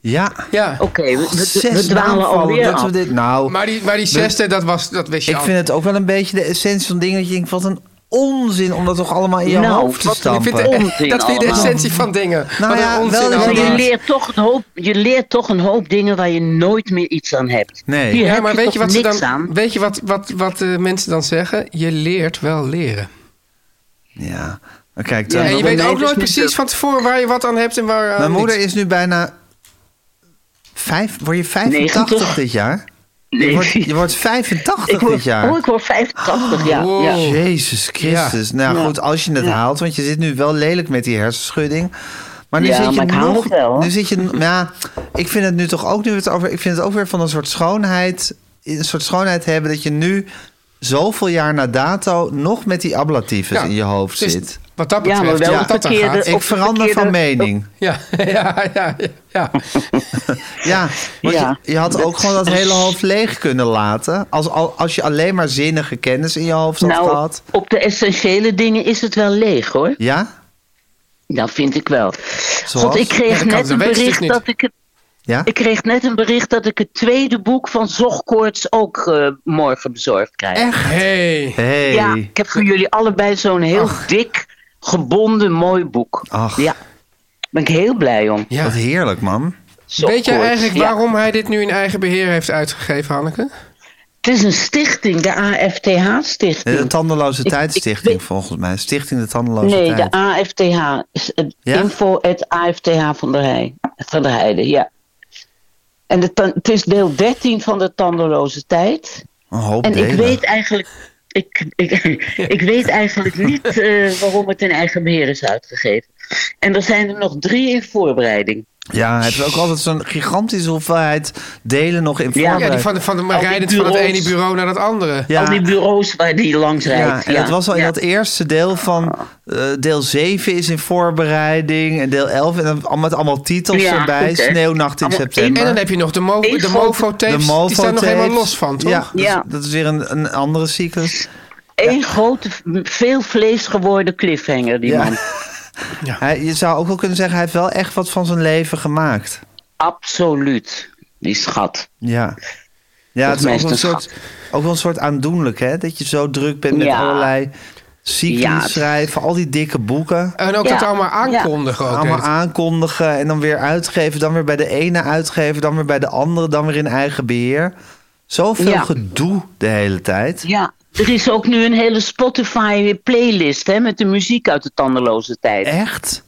Ja.
Ja.
Oké, we, we, we
Zes
dwalen
naamvallen.
alweer
Dat
af.
we dit... Nou,
Maar die, maar die zesde, dat, was, dat wist je
ik
al.
vind het ook wel een beetje de essentie van dingen dat je denkt... Wat een onzin om dat toch allemaal in je
Nou,
hoofd te
wat- ik
Ik
stampen.
vind de-
Onzin
dat vind je de
allemaal.
essentie van dingen. Wat een
Nou ja,
onzin
wel dat
Maar
allemaal.
je
Ja.
leert, toch een hoop, je leert toch een hoop dingen waar je nooit meer iets aan hebt.
Nee.
Hier
Ja,
heb
maar
je
weet
toch
je wat, ze
niks
dan,
aan.
weet je wat, wat, wat eh, mensen dan zeggen? Je leert wel leren.
Ja, maar kijk, dan,
en je
dat-
weet
nee,
ook
dat
nooit
is niet
precies
zo.
van tevoren waar je wat aan hebt en waar eh, aan
Oh,
mijn moeder
niet.
is nu bijna... Vijf, word je 85
90?
dit jaar? Je
Nee.
wordt, je wordt 85
ik word,
dit jaar.
Oh, ik word 85, ja.
Wow.
ja.
Jezus Christus. Nou
Ja.
goed, als je het
Ja.
haalt, want je zit nu wel lelijk met die hersenschudding. Maar nu
Ja,
zit je
maar ik haal
nog.
het wel, hoor.
nu zit je, n- ja, ik vind het nu toch ook nu we het over. Ik vind het ook weer van een soort schoonheid. Een soort schoonheid hebben dat je nu zoveel jaar na dato nog met die ablatiefes
Ja,
in je hoofd
dus
zit.
Wat dat
Ja,
betreft,
maar wel
wat
op
dat dan
verkeerde-
gaat.
op
Ik
de
verander van
verkeerde-
mening.
Ja, ja, ja, ja, ja.
Ja, want
Ja.
Je, je had ook gewoon dat hele hoofd leeg kunnen laten. Als, al- als je alleen maar zinnige kennis in je hoofd had
Nou,
gehad.
op de essentiële dingen is het wel leeg, hoor.
Ja?
Dat vind ik wel.
Zoals?
God, ik
Ja, dat
kreeg
kan,
net
dat
een
weet je dus
bericht
niet.
dat ik het...
Ja?
Ik kreeg net een bericht dat ik het tweede boek van Zogkoorts ook eh, morgen bezorgd krijg.
Echt? Hey.
Hey.
Ja, ik heb voor jullie allebei zo'n heel dik, gebonden, mooi boek.
Ach.
Ja, ben ik heel blij om.
Ja.
Wat heerlijk, man.
Weet jij
Zogkoorts,
eigenlijk
ja.
waarom hij dit nu in eigen beheer heeft uitgegeven, Hanneke?
Het is een stichting, de
Nee, De
AFTH-stichting.
Tandeloze
Ik-
Tijdstichting,
ik weet-
volgens mij. Stichting de Tandeloze
Nee, de
Tijd.
AFTH. Is het
Ja?
Info at AFTH van der, Heij, van der Heijden, ja. En de tan- het is deel 13 van de tandeloze tijd.
Een hoop
En ik
delen.
weet eigenlijk, ik, ik, ik weet eigenlijk niet eh, waarom het in eigen beheer is uitgegeven. En er zijn er nog drie in voorbereiding.
Ja, hij heeft ook altijd zo'n gigantische hoeveelheid delen nog in
Ja.
Ja, die
voorbereid.
van, de- van de, maar
Al die
rijdend van het
bureaus.
ene bureau naar het andere.
Ja,
Al die bureaus waar die langs rijdt.
ja, en dat was al in dat e- eerste deel van...
Oh.
eh, deel 7 is in voorbereiding. En deel 11. En dan al- met allemaal titels
Ja,
erbij.
goed, hè.
Sneeuwnacht in
Allemaal
september.
En dan heb je nog de, mo
Eén
de
grote-
de
mofo-tapes. Die staan nog
Mofo-tapes.
helemaal los van, toch?
Ja, dus
Ja.
dat is weer een, een andere cyclus.
Eén grote, veel vlees geworden cliffhanger, die
Ja.
man.
Hij, je zou ook wel kunnen zeggen, hij heeft wel echt wat van zijn leven gemaakt.
Absoluut. Die schat.
Ja. Ja, het is
mij
ook wel, een
is het een
soort, ook wel een soort aandoenlijk, hè? Dat je zo druk bent met
Ja.
allerlei cycli
Ja, het-
schrijven, al die dikke boeken.
En ook
Ja.
dat allemaal aankondigen. ook,
allemaal
hè.
aankondigen en dan weer uitgeven. Dan weer bij de ene uitgeven, dan weer bij de andere, dan weer in eigen beheer. Zoveel
Ja.
gedoe de hele tijd.
Ja. Er is ook nu een hele Spotify-playlist hè, met de muziek uit de tandeloze tijd.
Echt?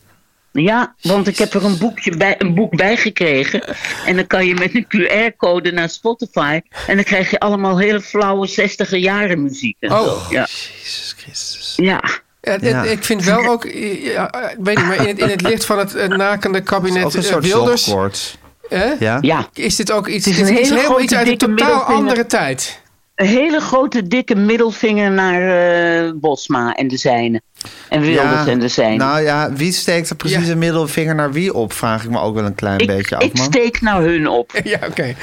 Ja, want ik heb er een, boekje bij, een boek bij gekregen. En dan kan je met een QR-code naar Spotify. En dan krijg je allemaal hele flauwe 60 jaren muziek. En
Oh.
zo. Ja.
Jezus Christus.
ja.
Ja, het-
Ja.
Ik vind wel ook, ja, ik weet niet, maar in het, in het licht van het eh, nakende
Ook
kabinet
een
eh,
soort
Wilders,
zogkoorts.
hè,
Ja?
ja.
is dit ook iets,
Het is een
dit is
hele
heel
grote,
iets uit een
dikke
totaal
middelvinger.
andere tijd.
Een hele grote, dikke middelvinger naar eh, Bosma en de zijne. En Wilders en de zijne.
nou ja, wie steekt er precies
Ja.
een middelvinger naar wie op? Vraag ik me ook wel een klein
ik,
beetje af,
ik
man.
steek nou hun op.
Ja, oké.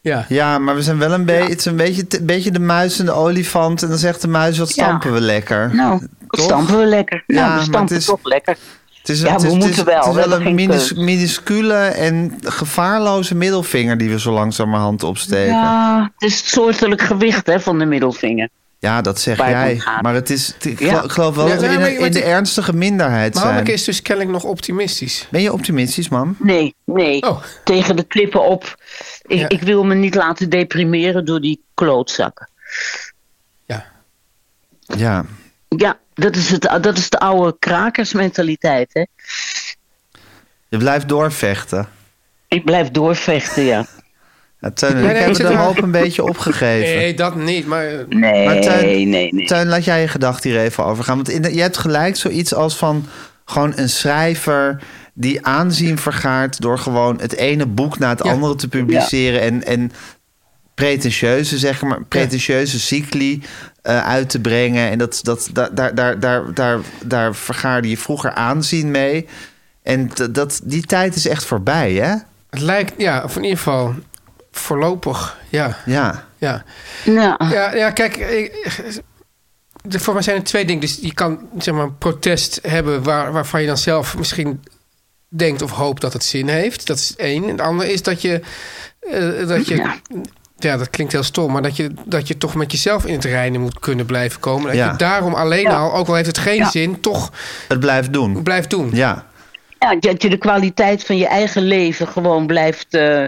Ja.
Ja, maar we zijn wel een, be het is een beetje, te- beetje de muis en de olifant. En dan zegt de muis, wat
Ja.
stampen we lekker.
Nou,
Toch?
stampen we lekker.
Ja,
nou,
maar
we
het
stampen
is-
toch lekker.
Het is,
Ja,
het
we
is, het is,
moeten wel.
Het is
We
wel
hebben
een
geen
minus,
keus.
minuscule en gevaarloze middelvinger... die we zo langzamerhand opsteken. Ja,
Ja, het is het soortelijk gewicht hè, van de middelvinger.
dat zeg
Waar het om
jij.
gaat.
Maar het is, het- ik
Ja.
gel- ik geloof wel
Ja,
dat we
maar-
in,
maar-
een- in de
maar-
ernstige minderheid
Maar
zijn.
Hanneke is dus kennelijk nog optimistisch.
Ben je optimistisch, mam?
Nee, nee.
Oh.
Tegen de klippen op. Ik,
Ja.
ik wil me niet laten deprimeren door die klootzakken.
Ja.
Ja.
Ja, dat is, het, dat is de oude krakersmentaliteit. Hè?
Je blijft doorvechten.
Ik blijf doorvechten, ja.
Ja, Teun en
nee,
ik
ik
hebben
zit
de
er-
hoop een beetje opgegeven.
Nee, dat niet, maar... eh,
Nee,
Maar Teun-
nee, nee.
Tuin, laat jij je gedachte hier even over gaan. Want in de- je hebt gelijk zoiets als van gewoon een schrijver die aanzien vergaart door gewoon het ene boek na het
Ja.
andere te publiceren en, en pretentieuze, zeg maar, pretentieuze cycli eh, uit te brengen. En dat, dat, daar, daar, daar, daar, daar, daar vergaarde je vroeger aanzien mee. En d- dat, die tijd is echt voorbij, hè?
Het lijkt, ja, of in ieder geval voorlopig, ja,
Ja.
ja.
Nou,
Ja, ja kijk, ik- de- voor mij zijn er twee dingen. Dus je kan zeg maar, een protest hebben waar, waarvan je dan zelf misschien denkt of hoopt dat het zin heeft. Dat is één. En het andere is dat je, eh, dat je
Ja.
Ja, dat klinkt heel stom, maar dat je, dat je toch met jezelf in het reinen moet kunnen blijven komen. Dat
Ja.
je daarom alleen
Ja.
al, ook al heeft het geen
Ja.
zin, toch
Het blijft doen.
blijft doen.
Ja,
Ja, dat je de kwaliteit van je eigen leven gewoon blijft, eh,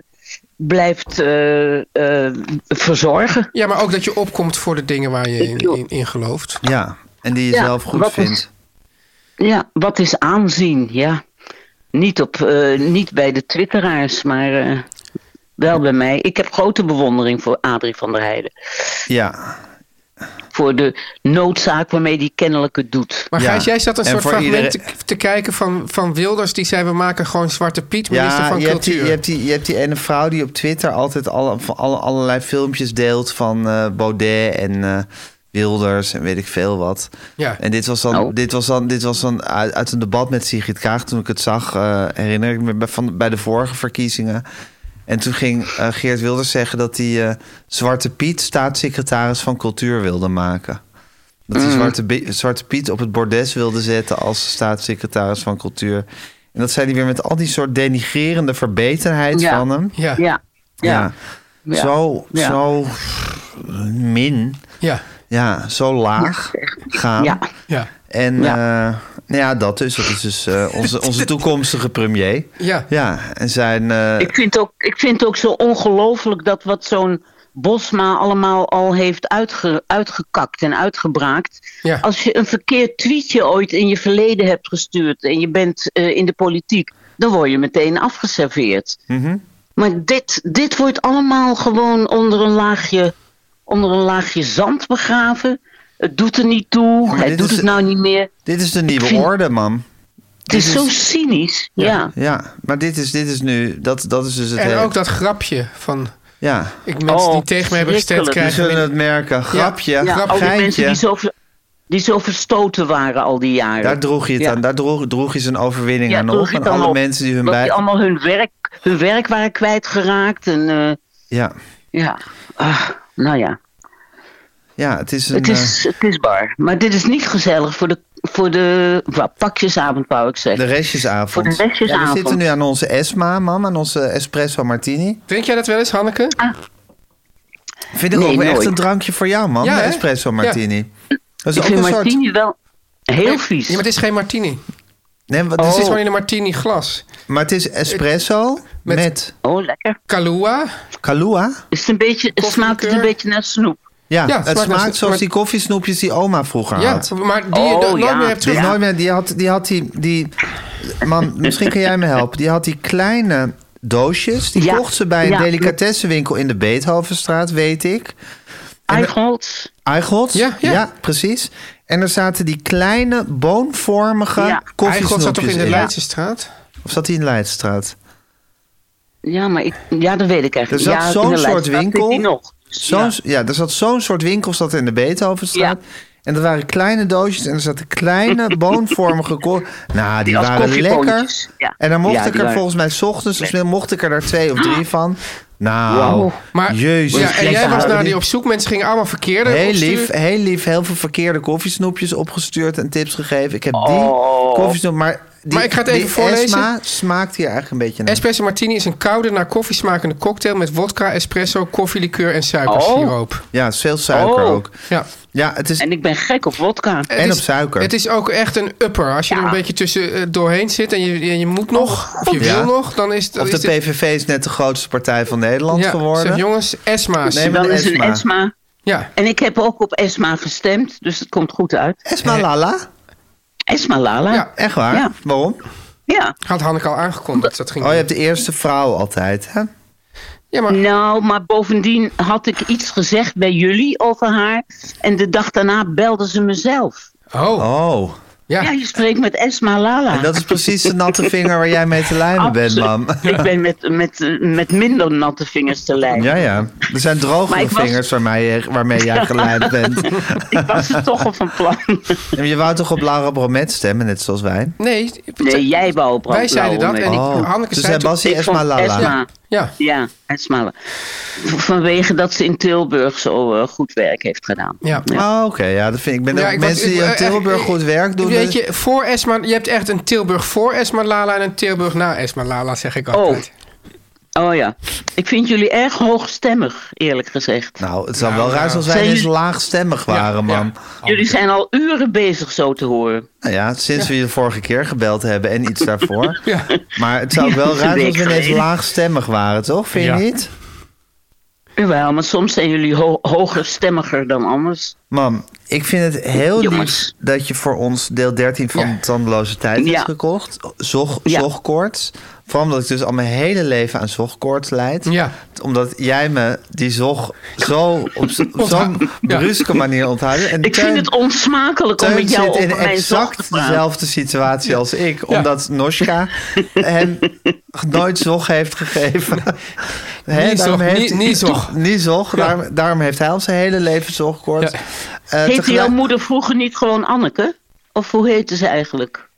blijft eh, eh, verzorgen.
Ja, maar ook dat je opkomt voor de dingen waar je in, in, in gelooft.
ja. En die je
Ja,
zelf goed
wat is-
vindt.
Ja, wat is aanzien? Ja. Niet, op, eh, niet bij de twitteraars, maar eh, wel bij mij. Ik heb grote bewondering voor Adrie van der Heijden.
Ja.
Voor de noodzaak waarmee hij kennelijk het doet.
Maar
Ja.
Gijs, jij zat een
En
soort
voor
fragment
iedereen-
te, te kijken van, van Wilders. Die zei, we maken gewoon Zwarte Piet, minister van
je hebt, die,
Cultuur.
je, hebt die, je hebt die ene vrouw die op Twitter altijd alle, van alle, allerlei filmpjes deelt van eh, Baudet en eh, Wilders en weet ik veel wat.
Ja.
En dit was dan,
Oh.
dit was dan, dit was dan uit, uit een debat met Sigrid Kaag. Toen ik het zag, eh, herinner ik me bij, van, bij de vorige verkiezingen. En toen ging eh, Geert Wilders zeggen dat hij eh, Zwarte Piet staatssecretaris van cultuur wilde maken. Dat
Mhm.
hij Zwarte, Bi- Zwarte Piet op het bordes wilde zetten als staatssecretaris van cultuur. En dat zei hij weer met al die soort denigrerende verbetenheid
Ja.
van hem.
Ja. Ja.
Ja, ja, ja.
Zo,
Ja.
zo min.
Ja.
Ja, zo laag gaan.
ja.
Ja.
En
Ja.
ja. nou ja, dat dus. Dat is dus eh, onze, onze toekomstige premier.
Ja.
Ja, en zijn... eh,
Ik vind ook, ik vind ook zo ongelooflijk dat wat zo'n Bosma allemaal al heeft uitge, uitgekakt en uitgebraakt.
Ja.
Als je een verkeerd tweetje ooit in je verleden hebt gestuurd en je bent eh, in de politiek, dan word je meteen afgeserveerd.
Mhm.
Maar dit, dit wordt allemaal gewoon onder een laagje, onder een laagje zand begraven. Het doet er niet toe.
maar
Hij
dit
doet
is-
het nou niet meer.
dit is de nieuwe
vind-
orde, man.
Het is zo cynisch. ja.
Ja, maar dit is, dit is nu... Dat, dat is dus het
En
hele-
ook dat grapje van...
Ja,
Ik mensen
Oh,
die tegen me hebben gestemd
verschrikkelijk.
we
krijgen...
zullen het merken. Grapje,
Ja,
Grap-
al die mensen die
geintje.
zo, ver- die zo verstoten waren al die jaren.
Daar droeg je het
Ja.
aan. Daar droeg, droeg je zijn overwinning
Ja,
aan
droeg
op.
je
En
het dan
alle
op.
mensen die hun
Dat
bij...
die allemaal hun werk, hun werk waren kwijtgeraakt. En, eh,
Ja,
ja, Ah, nou ja,
ja, het is een...
het is, het is bar. Maar dit is niet gezellig voor de, voor de wat, pakjesavond, wou ik
eh, de
zeggen.
restjesavond.
Voor de restjesavond.
Ja, we zitten nu aan onze Esma, mam. Aan onze Espresso Martini.
Drink jij dat wel eens, Hanneke?
Ah,
Vind ik
Nee,
ook wel echt
nooit.
een drankje voor jou, man.
Ja,
de
hè?
Espresso
Ja.
Martini. Dat is
Ik
ook
vind
een soort...
Martini wel heel vies.
Ja, maar het is geen martini.
Nee, wat,
Het
het
is
is
gewoon in een martini glas.
Maar het is espresso met,
Met-
Oh, lekker.
Kahlua.
Ah. Kahlua.
Is het een beetje, smaakt het een
Koffielikeur.
beetje naar snoep?
Ja,
Ja,
het
smaakt
smaakt,
naar-
zoals
maar-
die koffiesnoepjes die oma vroeger
Ja,
had.
maar die je
Oh,
nooit
ja.
meer hebt
Die,
terug.
nooit meer, die had die... Had die, die man, misschien kun jij me helpen. Die had die kleine doosjes. Die
Ja,
kocht ze bij een
ja.
delicatessenwinkel in de Beethovenstraat, weet ik.
Eichholz?
Eichholz?
Ja, ja.
precies. En er zaten die kleine, boonvormige
Ja.
koffiesnoepjes
Eigenlijk zat toch in de
in.
Leidse straat?
Of zat die in de Leidstraat?
Ja, maar ik, ja, dat weet ik eigenlijk
Er
niet.
zat
ja,
zo'n
in de
soort
lijst. Waar zit
winkel.
die nog?
Zo'n,
Ja.
ja. er zat zo'n soort winkel zat in de Beethovenstraat.
Ja.
En er waren kleine doosjes en er zaten kleine boonvormige... ko- Nou, die
als
waren lekker.
koffieboontjes. Ja.
En dan mocht
Ja,
ik
die
er
waren-
volgens mij 's ochtends... of mocht ik er daar twee of drie van. Nou,
Wauw.
Ah. Maar,
jezus.
Ja, en jij
lekker.
was naar die
Die-
op zoek. Mensen gingen allemaal verkeerde
Heel
opsturen.
lief, heel lief. Heel veel verkeerde koffiesnoepjes opgestuurd en tips gegeven. Ik heb die koffiesnoep... Maar, die,
Oh. Maar ik ga het even
die
voorlezen.
Esma smaakt hier eigenlijk een beetje naar.
Espresso martini is een koude, naar koffie smakende cocktail... met wodka, espresso, koffielikeur en suikersiroop.
ja, het is veel suiker
Oh.
ook.
Ja.
Ja, het is...
En ik ben gek op wodka.
Het
En
is-
op suiker.
Het is ook echt een upper. Als je er een beetje tussen eh, doorheen zit en je, en je moet nog, of je
Ja.
wil nog, dan is, dan
Of de
is dit-
PVV is net de grootste partij van Nederland
ja,
geworden.
Zeg, jongens, Esma's.
Nee, maar
Dan
de
is een
Esma.
Esma.
Ja.
En ik heb ook op Esma gestemd, dus het komt goed uit.
Esma Lala?
Esma Lala.
Ja.
Ja.
Echt waar?
Ja.
Waarom?
Had Hanneke al aangekondigd dat ze dat ging
Oh, je
doen.
hebt de eerste vrouw altijd, hè?
ja, maar
Nou, maar bovendien had ik iets gezegd bij jullie over haar. En de dag daarna belde ze mezelf.
Oh,
Oh.
ja.
Ja, je spreekt met Esma Lala.
En dat is precies de natte vinger waar jij mee te lijmen bent, mam.
Ik ben met, met, eh, met minder natte vingers te lijden.
Ja, ja. Er zijn
Maar
drogere
ik was-
vingers waarmee, je- waarmee jij geleid bent.
Ik was er toch al van plan.
En je wou toch op Laura Bromet stemmen, net zoals wij?
Nee,
Nee, jij wou op
Wij zeiden dat en ik- Hanneke
dus
zei
hij
toen-
was die Esma Lala.
Esma.
ja.
Nou,
Ja, Esma. Lala. Vanwege dat ze in Tilburg zo eh, goed werk heeft gedaan.
Ja.
Oh, oké. ja, dat vind ik. ik ben
Ja,
ook
ik was-
mensen
ik-
die in
eh,
Tilburg
eh,
goed werk doen.
Weet
eh,
je, voor Esma, je hebt echt een Tilburg voor Esma Lala en een Tilburg na Esma Lala, zeg ik altijd.
Oh ja. Ik vind jullie erg hoogstemmig, eerlijk gezegd.
Nou, het zou
Nou,
wel
nou.
raar zijn als wij
Zijn
eens
jullie-
laagstemmig waren,
Ja, ja.
man.
jullie zijn al uren bezig zo te horen.
Nou ja, sinds we je de vorige keer gebeld hebben en iets daarvoor.
Ja.
Maar het zou ook wel
Ja,
raar zijn als
week
we ineens
geleden.
laagstemmig waren, toch? Vind je
Ja.
niet?
Jawel, maar soms zijn jullie ho- hoger stemmiger dan anders.
Mam, ik vind het heel
Jongens.
lief dat je voor ons deel 13 van
Ja.
de Tandeloze Tijd
Ja.
hebt gekocht. Zog,
Ja.
Zogkoorts. Vooral omdat ik dus al mijn hele leven aan zogkoorts leid.
Ja.
Omdat jij me die zog zo op, z- op zo'n
Ja.
bruske manier onthoudt. En
Ik
Teun-
vind het onsmakelijk om
Teun
met jou
zit in
over mijn zog
exact
te praten.
dezelfde situatie als ik. Omdat Noshka hem nooit zog heeft gegeven. Hè,
Niet
daarom
zog,
heeft-
niet- niet zog.
Niet zog.
Ja.
Daarom, daarom heeft hij al zijn hele leven zogkoorts.
Ja.
Eh,
Heette
tegelijk-
jouw moeder vroeger niet gewoon Anneke? Of hoe heette ze eigenlijk?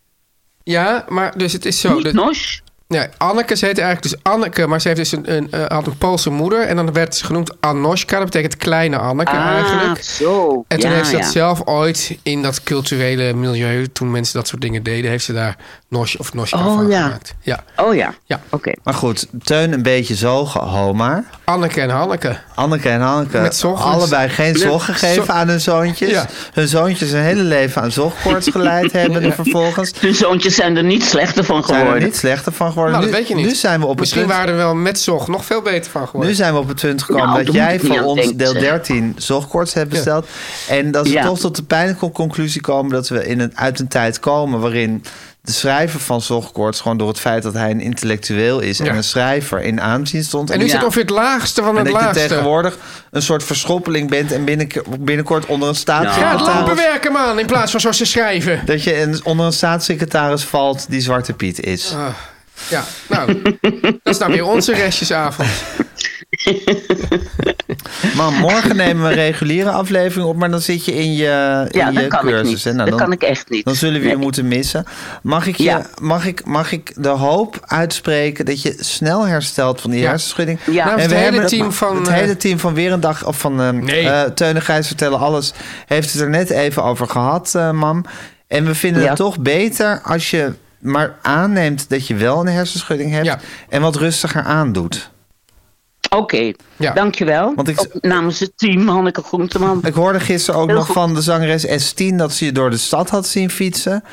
Ja, maar dus het
Nou,
is zo.
niet
dat-
Nosh?
Nee, Anneke, ze heette eigenlijk dus Anneke, maar ze heeft dus een, een, eh, had een Poolse moeder. En dan werd ze genoemd Anoshka, dat betekent kleine Anneke
Ah,
eigenlijk.
zo.
En toen
ja,
heeft ze dat
ja.
zelf ooit in dat culturele milieu, toen mensen dat soort dingen deden, heeft ze daar Nosh of Noshka
Oh,
van
ja.
gemaakt. Ja,
Oh ja,
Ja.
oké.
Maar goed, Teun een beetje zogen, Homa.
Anneke en Hanneke. Nou,
Anneke en Hanneke
Met zog-
allebei geen zog gegeven
zo-
aan hun zoontjes.
Ja.
Hun zoontjes hun hele leven aan zogkoorts geleid hebben. En vervolgens
Hun zoontjes zijn er niet slechter van
zijn we er
geworden.
niet slechter van geworden.
Nou, dat
nu,
weet je niet.
nu zijn we op het
Misschien
punt,
waren er wel met Zog nog veel beter van geworden.
nu zijn we op het punt gekomen
Nou,
dat
daar moet
jij
ik niet
voor
aan
ons
denken,
deel
zeg.
13 zogkoorts hebt besteld. En dat we
Ja.
toch tot de pijnlijke conclusie komen dat we in een, uit een tijd komen waarin de schrijver van zogkoorts gewoon door het feit dat hij een intellectueel is
Ja.
en een schrijver in aanzien stond.
en nu
Ja.
zit ongeveer het laagste van
En
het
dat je
laagste.
tegenwoordig een soort verschoppeling bent en binnen, binnenkort onder een
Ga het
staatssecretaris.
lopen werken, man, in plaats van zoals ze schrijven.
dat je een, onder een staatssecretaris valt die Zwarte Piet is.
Ja, nou, dat is nou weer onze restjesavond.
Maar morgen nemen we een reguliere aflevering op, maar dan zit je in je, in
Ja,
je
dat kan ik
cursus.
niet.
hè? Nou,
dat
dan,
kan ik echt niet.
dan zullen we je
Nee.
moeten missen. Mag ik, je,
Ja.
mag, ik, mag ik de hoop uitspreken dat je snel herstelt van die
Ja.
hersenschudding?
Ja.
Nou,
En
het
we
hele
hebben
team van,
het
eh,
hele team van weer een dag of van eh
Nee.
eh, Teun en Gijs vertellen alles heeft het er net even over gehad, eh, mam. En we vinden
Ja.
het toch beter als je maar aanneemt dat je wel een hersenschudding hebt
Ja.
en wat rustiger aandoet.
Oké,
Ja.
dankjewel.
Want ik-
Ook namens het team Hanneke Groenteman.
Ik hoorde gisteren ook
Heel
nog
goed.
van de zangeres S10 dat ze je door de stad had zien fietsen.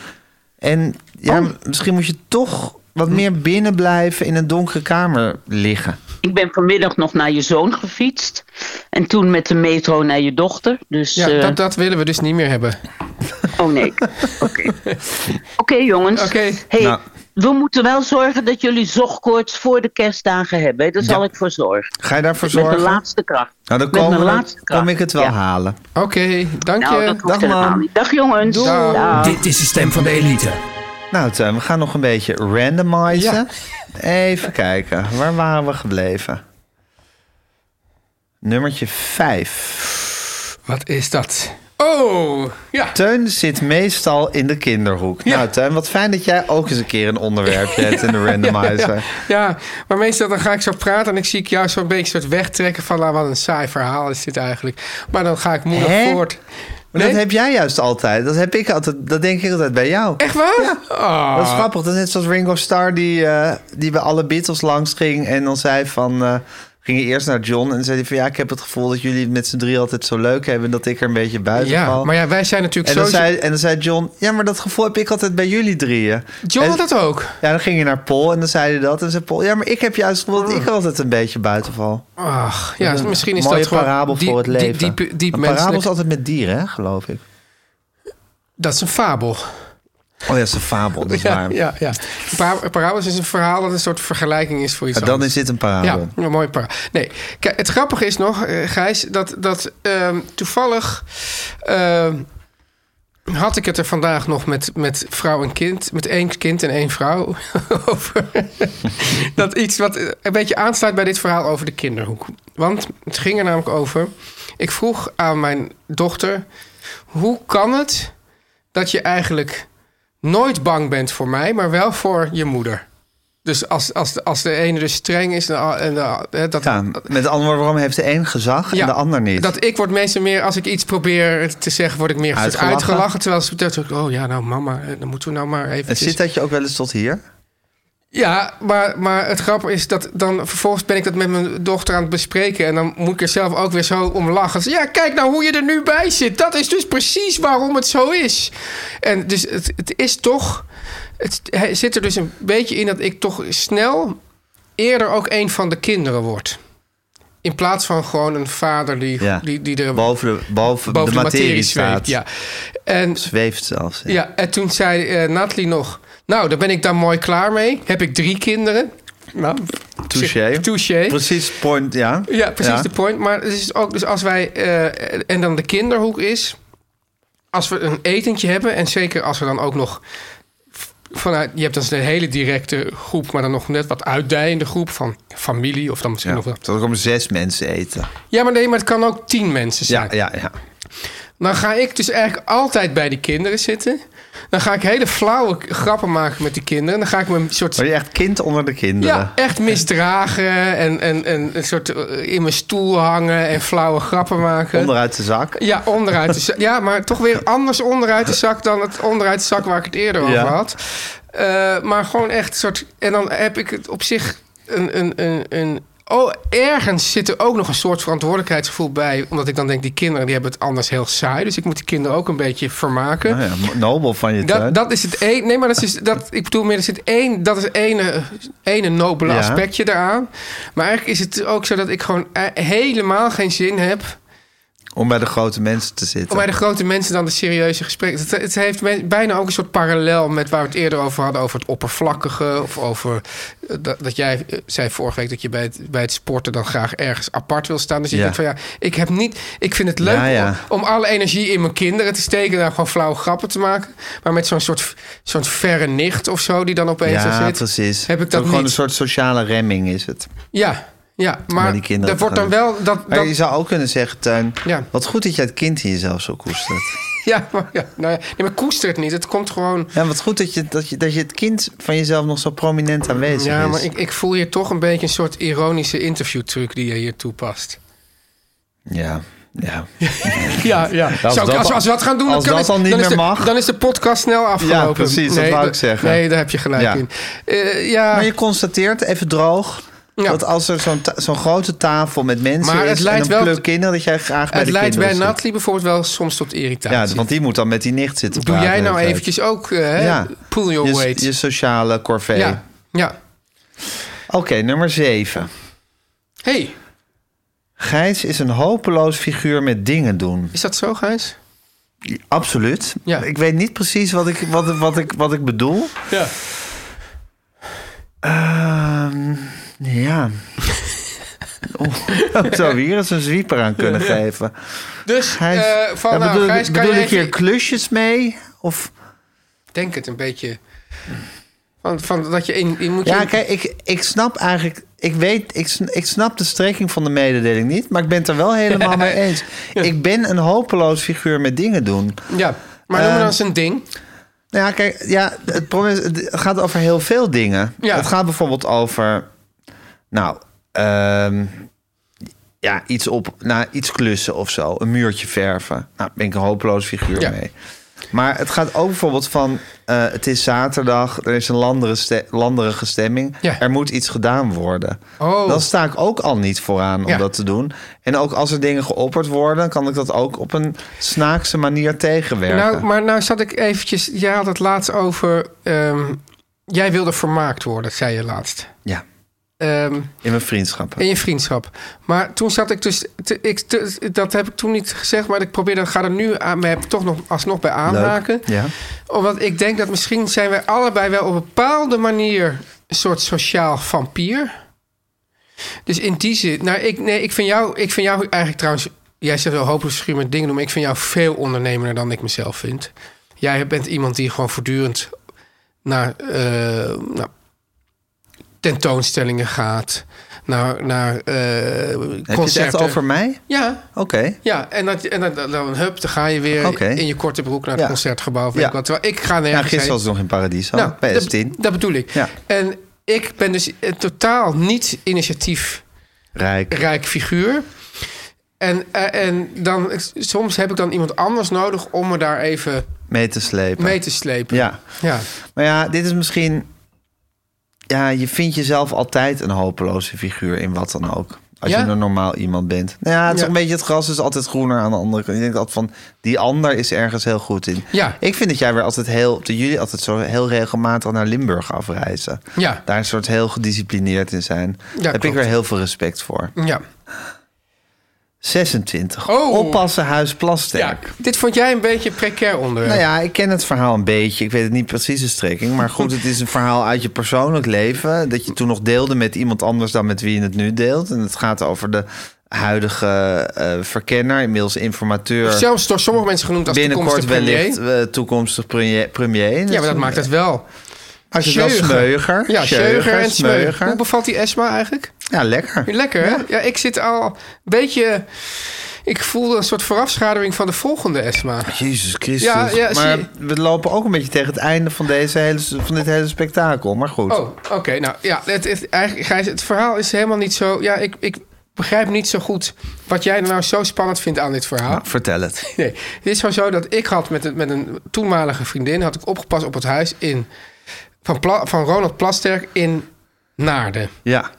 En ja,
Oh.
misschien moet je toch wat meer binnen blijven in een donkere kamer liggen.
Ik ben vanmiddag nog naar je zoon gefietst. En toen met de metro naar je dochter. Dus,
Ja,
eh,
dat, dat willen we dus niet meer hebben.
oh nee. Oké, Oké, jongens.
Oké.
Hey,
Nou.
We moeten wel zorgen dat jullie zogkoorts voor de kerstdagen hebben. hè. Daar zal ik voor zorgen.
Ga je daarvoor
Met
zorgen?
mijn laatste kracht.
nou, dan
Met mijn
komen we-
laatste kracht.
kom ik het wel
Ja.
halen.
Oké, dank
Nou,
je.
dat hoeft
Dag,
helemaal
mam.
niet. Dag jongens.
Doei.
Dag.
Dit is de stem van de elite.
Nou, Teun, we gaan nog een beetje randomizen. Even kijken, waar waren we gebleven? Nummertje 5.
Wat is dat? Oh, ja.
Teun zit meestal in de kinderhoek.
Ja.
Nou, Teun, wat fijn dat jij ook eens een keer een onderwerp hebt in de randomizer.
Ja, ja, maar meestal dan ga ik zo praten en ik zie ik jou zo'n beetje soort wegtrekken van nou, wat een saai verhaal is dit eigenlijk. Maar dan ga ik moedig
Hè?
voort.
Maar
Nee?
dat heb jij juist altijd. Dat heb ik altijd. Dat denk ik altijd bij jou.
Echt waar?
Dat is
Oh.
grappig. Dat is net zoals Ringo Starr die, eh, die bij alle Beatles langs ging. En dan zei van... eh ging je eerst naar John en zei hij van... Ja, ik heb het gevoel dat jullie het met z'n drie altijd zo leuk hebben... en dat ik er een beetje buiten
ja,
val.
maar ja, wij zijn natuurlijk
en,
zo...
dan zei, en dan zei John... Ja, maar dat gevoel heb ik altijd bij jullie drieën.
John
En-
had dat ook.
Ja, dan ging je naar Paul en dan zei hij dat. En zei Paul... Ja, maar ik heb juist het gevoel dat ik altijd een beetje buiten val.
Ach, Ah. ja, misschien is
Mooie
dat gewoon...
parabel
diep-
voor het
diep-
leven.
Diep, diep,
een
menselijk.
parabel is altijd met dieren, hè, geloof ik.
Dat is een fabel.
Oh ja, dat is een fabel, dat is
Ja,
waar.
ja, ja. Par- Parabels is een verhaal dat een soort vergelijking is voor iets
Maar dan
anders.
is dit een parabel.
Ja, een mooi paar. Nee, kijk, het grappige is nog, eh, Gijs, dat, dat ehm, toevallig ehm, had ik het er vandaag nog met, met vrouw en kind, met één kind en één vrouw over. dat iets wat eh, een beetje aansluit bij dit verhaal over de kinderhoek. Want het ging er namelijk over. Ik vroeg aan mijn dochter: hoe kan het dat je eigenlijk nooit bang bent voor mij, maar wel voor je moeder? Dus als, als, de, als de ene dus streng is en de, a- en de, hè, dat,
Ja, met andere woorden, waarom heeft de een gezag en
Ja,
de ander niet?
dat ik word meestal meer, als ik iets probeer te zeggen, word ik meer uitgelachen.
Uitgelachen.
uitgelachen terwijl ze betreft, oh ja, nou mama, eh, dan moeten we nou maar
en
even.
zit dat je ook wel eens tot hier?
Ja, maar, maar het grappige is dat dan vervolgens ben ik dat met mijn dochter aan het bespreken. En dan moet ik er zelf ook weer zo om lachen. Zo, Ja, kijk nou hoe je er nu bij zit. Dat is dus precies waarom het zo is. En dus het, het is toch. Het hij zit er dus een beetje in dat ik toch snel eerder ook een van de kinderen word. In plaats van gewoon een vader die,
Ja.
die, die er
Boven de, boven
boven
de materie, staat.
Ja. En
Zweeft zelfs. Ja.
ja, en toen zei eh Nathalie nog... Nou, daar ben ik dan mooi klaar mee. Heb ik drie kinderen. Nou,
Touché.
Touché.
Precies, point, ja.
Ja, precies
Ja.
de point. Maar het is ook, dus als wij... eh, en dan de kinderhoek is... Als we een etentje hebben... En zeker als we dan ook nog... Vanuit, je hebt dan een hele directe groep... Maar dan nog net wat uitdijende groep van familie. Of dan misschien
Ja.
nog wat...
Tot er komen zes mensen eten.
Ja, maar nee, maar het kan ook tien mensen zijn.
Ja, ja, ja.
Dan ga ik dus eigenlijk altijd bij die kinderen zitten. Dan ga ik hele flauwe k- grappen maken met die kinderen. Dan ga ik me een soort...
Maar je echt kind onder de kinderen.
Ja, echt misdragen en, en, en een soort eh, in mijn stoel hangen en flauwe grappen maken.
Onderuit de zak.
Ja, onderuit de zak. Ja, maar toch weer anders onderuit de zak dan het onderuit de zak waar ik het eerder
Ja.
over had. Eh, maar gewoon echt een soort. En dan heb ik het op zich een. een, een, een Oh, ergens zit er ook nog een soort verantwoordelijkheidsgevoel bij. Omdat ik dan denk, die kinderen die hebben het anders heel saai. Dus ik moet die kinderen ook een beetje vermaken.
Nou ja, nobel van je tuin.
Dat, dat is het één. Nee, maar dat is dat. Ik bedoel, meer er zit één. Dat is ene, ene nobele
Ja.
aspectje daaraan. Maar eigenlijk is het ook zo dat ik gewoon eh, helemaal geen zin heb
Om bij de grote mensen te zitten.
om bij de grote mensen dan de serieuze gesprekken. Het, het heeft me- bijna ook een soort parallel met waar we het eerder over hadden over het oppervlakkige of over eh, dat, dat jij eh, zei vorige week dat je bij het, bij het sporten dan graag ergens apart wil staan. Dus je
Ja.
denkt van ja, ik heb niet. Ik vind het leuk
Ja, ja.
Om, om alle energie in mijn kinderen te steken, daar gewoon flauwe grappen te maken, maar met zo'n soort zo'n verre nicht of zo die dan opeens er
ja,
zit.
precies.
Heb ik
Het is ook
dat
gewoon
niet?
een soort sociale remming is het.
Ja, ja, maar
die kinderen
dat wordt dan
gaan-
wel dat.
Maar
dat
je zou ook kunnen zeggen, Tuin,
Ja.
wat goed dat je het kind in jezelf zo koestert.
ja, maar, ja, nou ja, nee, maar koester het niet. Het komt gewoon.
ja, wat goed dat je, dat, je, dat je het kind van jezelf nog zo prominent aanwezig is.
Ja, maar ik, ik voel hier toch een beetje een soort ironische interviewtruc die je hier toepast.
Ja, ja.
Ja, ja. Als,
dat-
als, als we dat gaan doen,
als
dan, kan
dat dan
ik-
niet
is
meer
de,
mag.
Dan is de podcast snel afgelopen.
Ja, precies, dat
nee,
wou
da-
ik zeggen.
Nee, daar heb je gelijk
Ja.
in. Eh, ja,
Maar je constateert, even droog,
Ja.
dat als er zo'n ta- zo'n grote tafel met mensen
Maar
is
het leidt
en een
wel-
pluk kinderen, dat jij graag bij
het
de
leidt bij
kinderen zit.
Nathalie bijvoorbeeld wel soms tot irritatie.
Ja, want die moet dan met die nicht zitten
Doe
praten
jij
de
nou
hele tijd.
eventjes ook, eh, hè?
Ja.
pull your
je,
weight.
je sociale corvée.
ja, ja.
Oké, nummer 7.
hey,
Gijs is een hopeloos figuur met dingen doen.
is dat zo, Gijs?
Absoluut.
Ja.
Ik weet niet precies wat ik, wat, wat ik, wat ik bedoel.
Ja.
Ehm, ja. Oeh, zou we hier eens een zwieper aan kunnen geven?
Dus,
Gijs,
eh, van,
Ja,
nou,
bedoel,
Gijs, kan
bedoel
je
ik hier
even-
klusjes mee? Of,
denk het een beetje... Van, van dat je in... Je moet
ja,
je-
kijk, ik, ik snap eigenlijk... Ik weet, ik, sn- ik snap de strekking van de mededeling niet... maar ik ben het er wel helemaal mee eens. Ik ben een hopeloos figuur met dingen doen.
ja. Maar noem
Eh,
maar dan eens een ding.
Nou ja, kijk, ja, het probleem is, het gaat over heel veel dingen.
Ja.
Het gaat bijvoorbeeld over, nou, ehm, ja, iets op, nou, iets klussen of zo, een muurtje verven. Nou, ben ik een hopeloos figuur
Ja.
mee. Maar het gaat ook bijvoorbeeld van, eh, het is zaterdag, er is een landere ste- landerige stemming,
Ja.
er moet iets gedaan worden.
Oh.
Dan sta ik ook al niet vooraan om
Ja.
dat te doen. En ook als er dingen geopperd worden, kan ik dat ook op een snaakse manier tegenwerken.
Nou, maar nou zat ik eventjes... Jij had het laatst over... ehm, jij wilde vermaakt worden, zei je laatst.
Ja,
Ehm,
in mijn vriendschappen.
in je vriendschap. Maar toen zat ik dus... te- ik, te- dat heb ik toen niet gezegd, maar ik probeer... Ik ga er nu aan, maar heb ik toch nog, alsnog bij aanhaken.
Ja.
Omdat Oh, ik denk dat misschien zijn wij allebei wel op een bepaalde manier... een soort sociaal vampier. Dus in die zin... Nou, ik, nee, ik vind, jou, ik vind jou eigenlijk trouwens... Jij zegt wel hopelijk schuur met dingen doen... maar ik vind jou veel ondernemender dan ik mezelf vind. Jij bent iemand die gewoon voortdurend naar... eh, nou, tentoonstellingen gaat... Naar, naar eh, concerten.
Heb je het echt over mij?
Ja,
Oké.
ja, en, dat, en dat, dan hup, dan ga je weer
Oké.
in je korte broek naar het
Ja.
concertgebouw. of Weet
Ja.
ik, wat. Terwijl ik ga
Ja,
nergens
gisteren
heen.
was het nog in Paradiso.
Nou,
bij
dat,
S10.
dat bedoel ik.
Ja.
En ik ben dus eh, totaal niet initiatief
Rijk.
rijk figuur. En, eh, en dan, soms heb ik dan iemand anders nodig om me daar even
Mee te slepen.
mee te slepen.
Ja.
Ja.
Maar ja, dit is misschien... ja, je vindt jezelf altijd een hopeloze figuur in wat dan ook. Als
Ja?
je een normaal iemand bent. Nou ja, het is
Ja.
een beetje het gras is altijd groener aan de andere kant. Je denkt altijd van, die ander is ergens heel goed in.
Ja.
Ik vind dat jij weer altijd heel, dat jullie altijd zo heel regelmatig naar Limburg afreizen.
Ja.
Daar een soort heel gedisciplineerd in zijn. Daar heb
klopt.
ik weer heel veel respect voor.
Ja.
26.
Oh.
Oppassen huis
ja.
plasterk.
Dit vond jij een beetje een precair onderwerp.
Nou ja, ik ken het verhaal een beetje. Ik weet het niet precies de strekking. Maar goed, het is een verhaal uit je persoonlijk leven. Dat je toen nog deelde met iemand anders dan met wie je het nu deelt. En het gaat over de huidige eh, verkenner, inmiddels informateur.
Zelfs door sommige mensen genoemd als
Binnenkort
toekomstige premier.
wellicht eh, toekomstig premier. premier.
Ja, maar dat
een-
maakt het wel. Dus
Als je wel smeuiger.
Ja, Scheuger en Smeuiger. Hoe
smeuiger.
bevalt die Esma eigenlijk?
Ja, lekker.
Lekker, hè? Ja, ik zit al een beetje... Ik voelde een soort voorafschaduwing van de volgende Esma.
Jezus Christus.
Ja, ja, zie
maar
je.
we lopen ook een beetje tegen het einde van, deze hele, van dit hele spektakel. Maar goed.
Oh, oké. nou, ja, het, het, eigenlijk, Gijs, het verhaal is helemaal niet zo... Ja, ik, ik begrijp niet zo goed wat jij nou zo spannend vindt aan dit verhaal.
Vertel het.
Nee, het is gewoon zo dat ik had met een, met een toenmalige vriendin... had ik opgepast op het huis in, van, Pla- van Ronald Plasterk in Naarden.
Ja,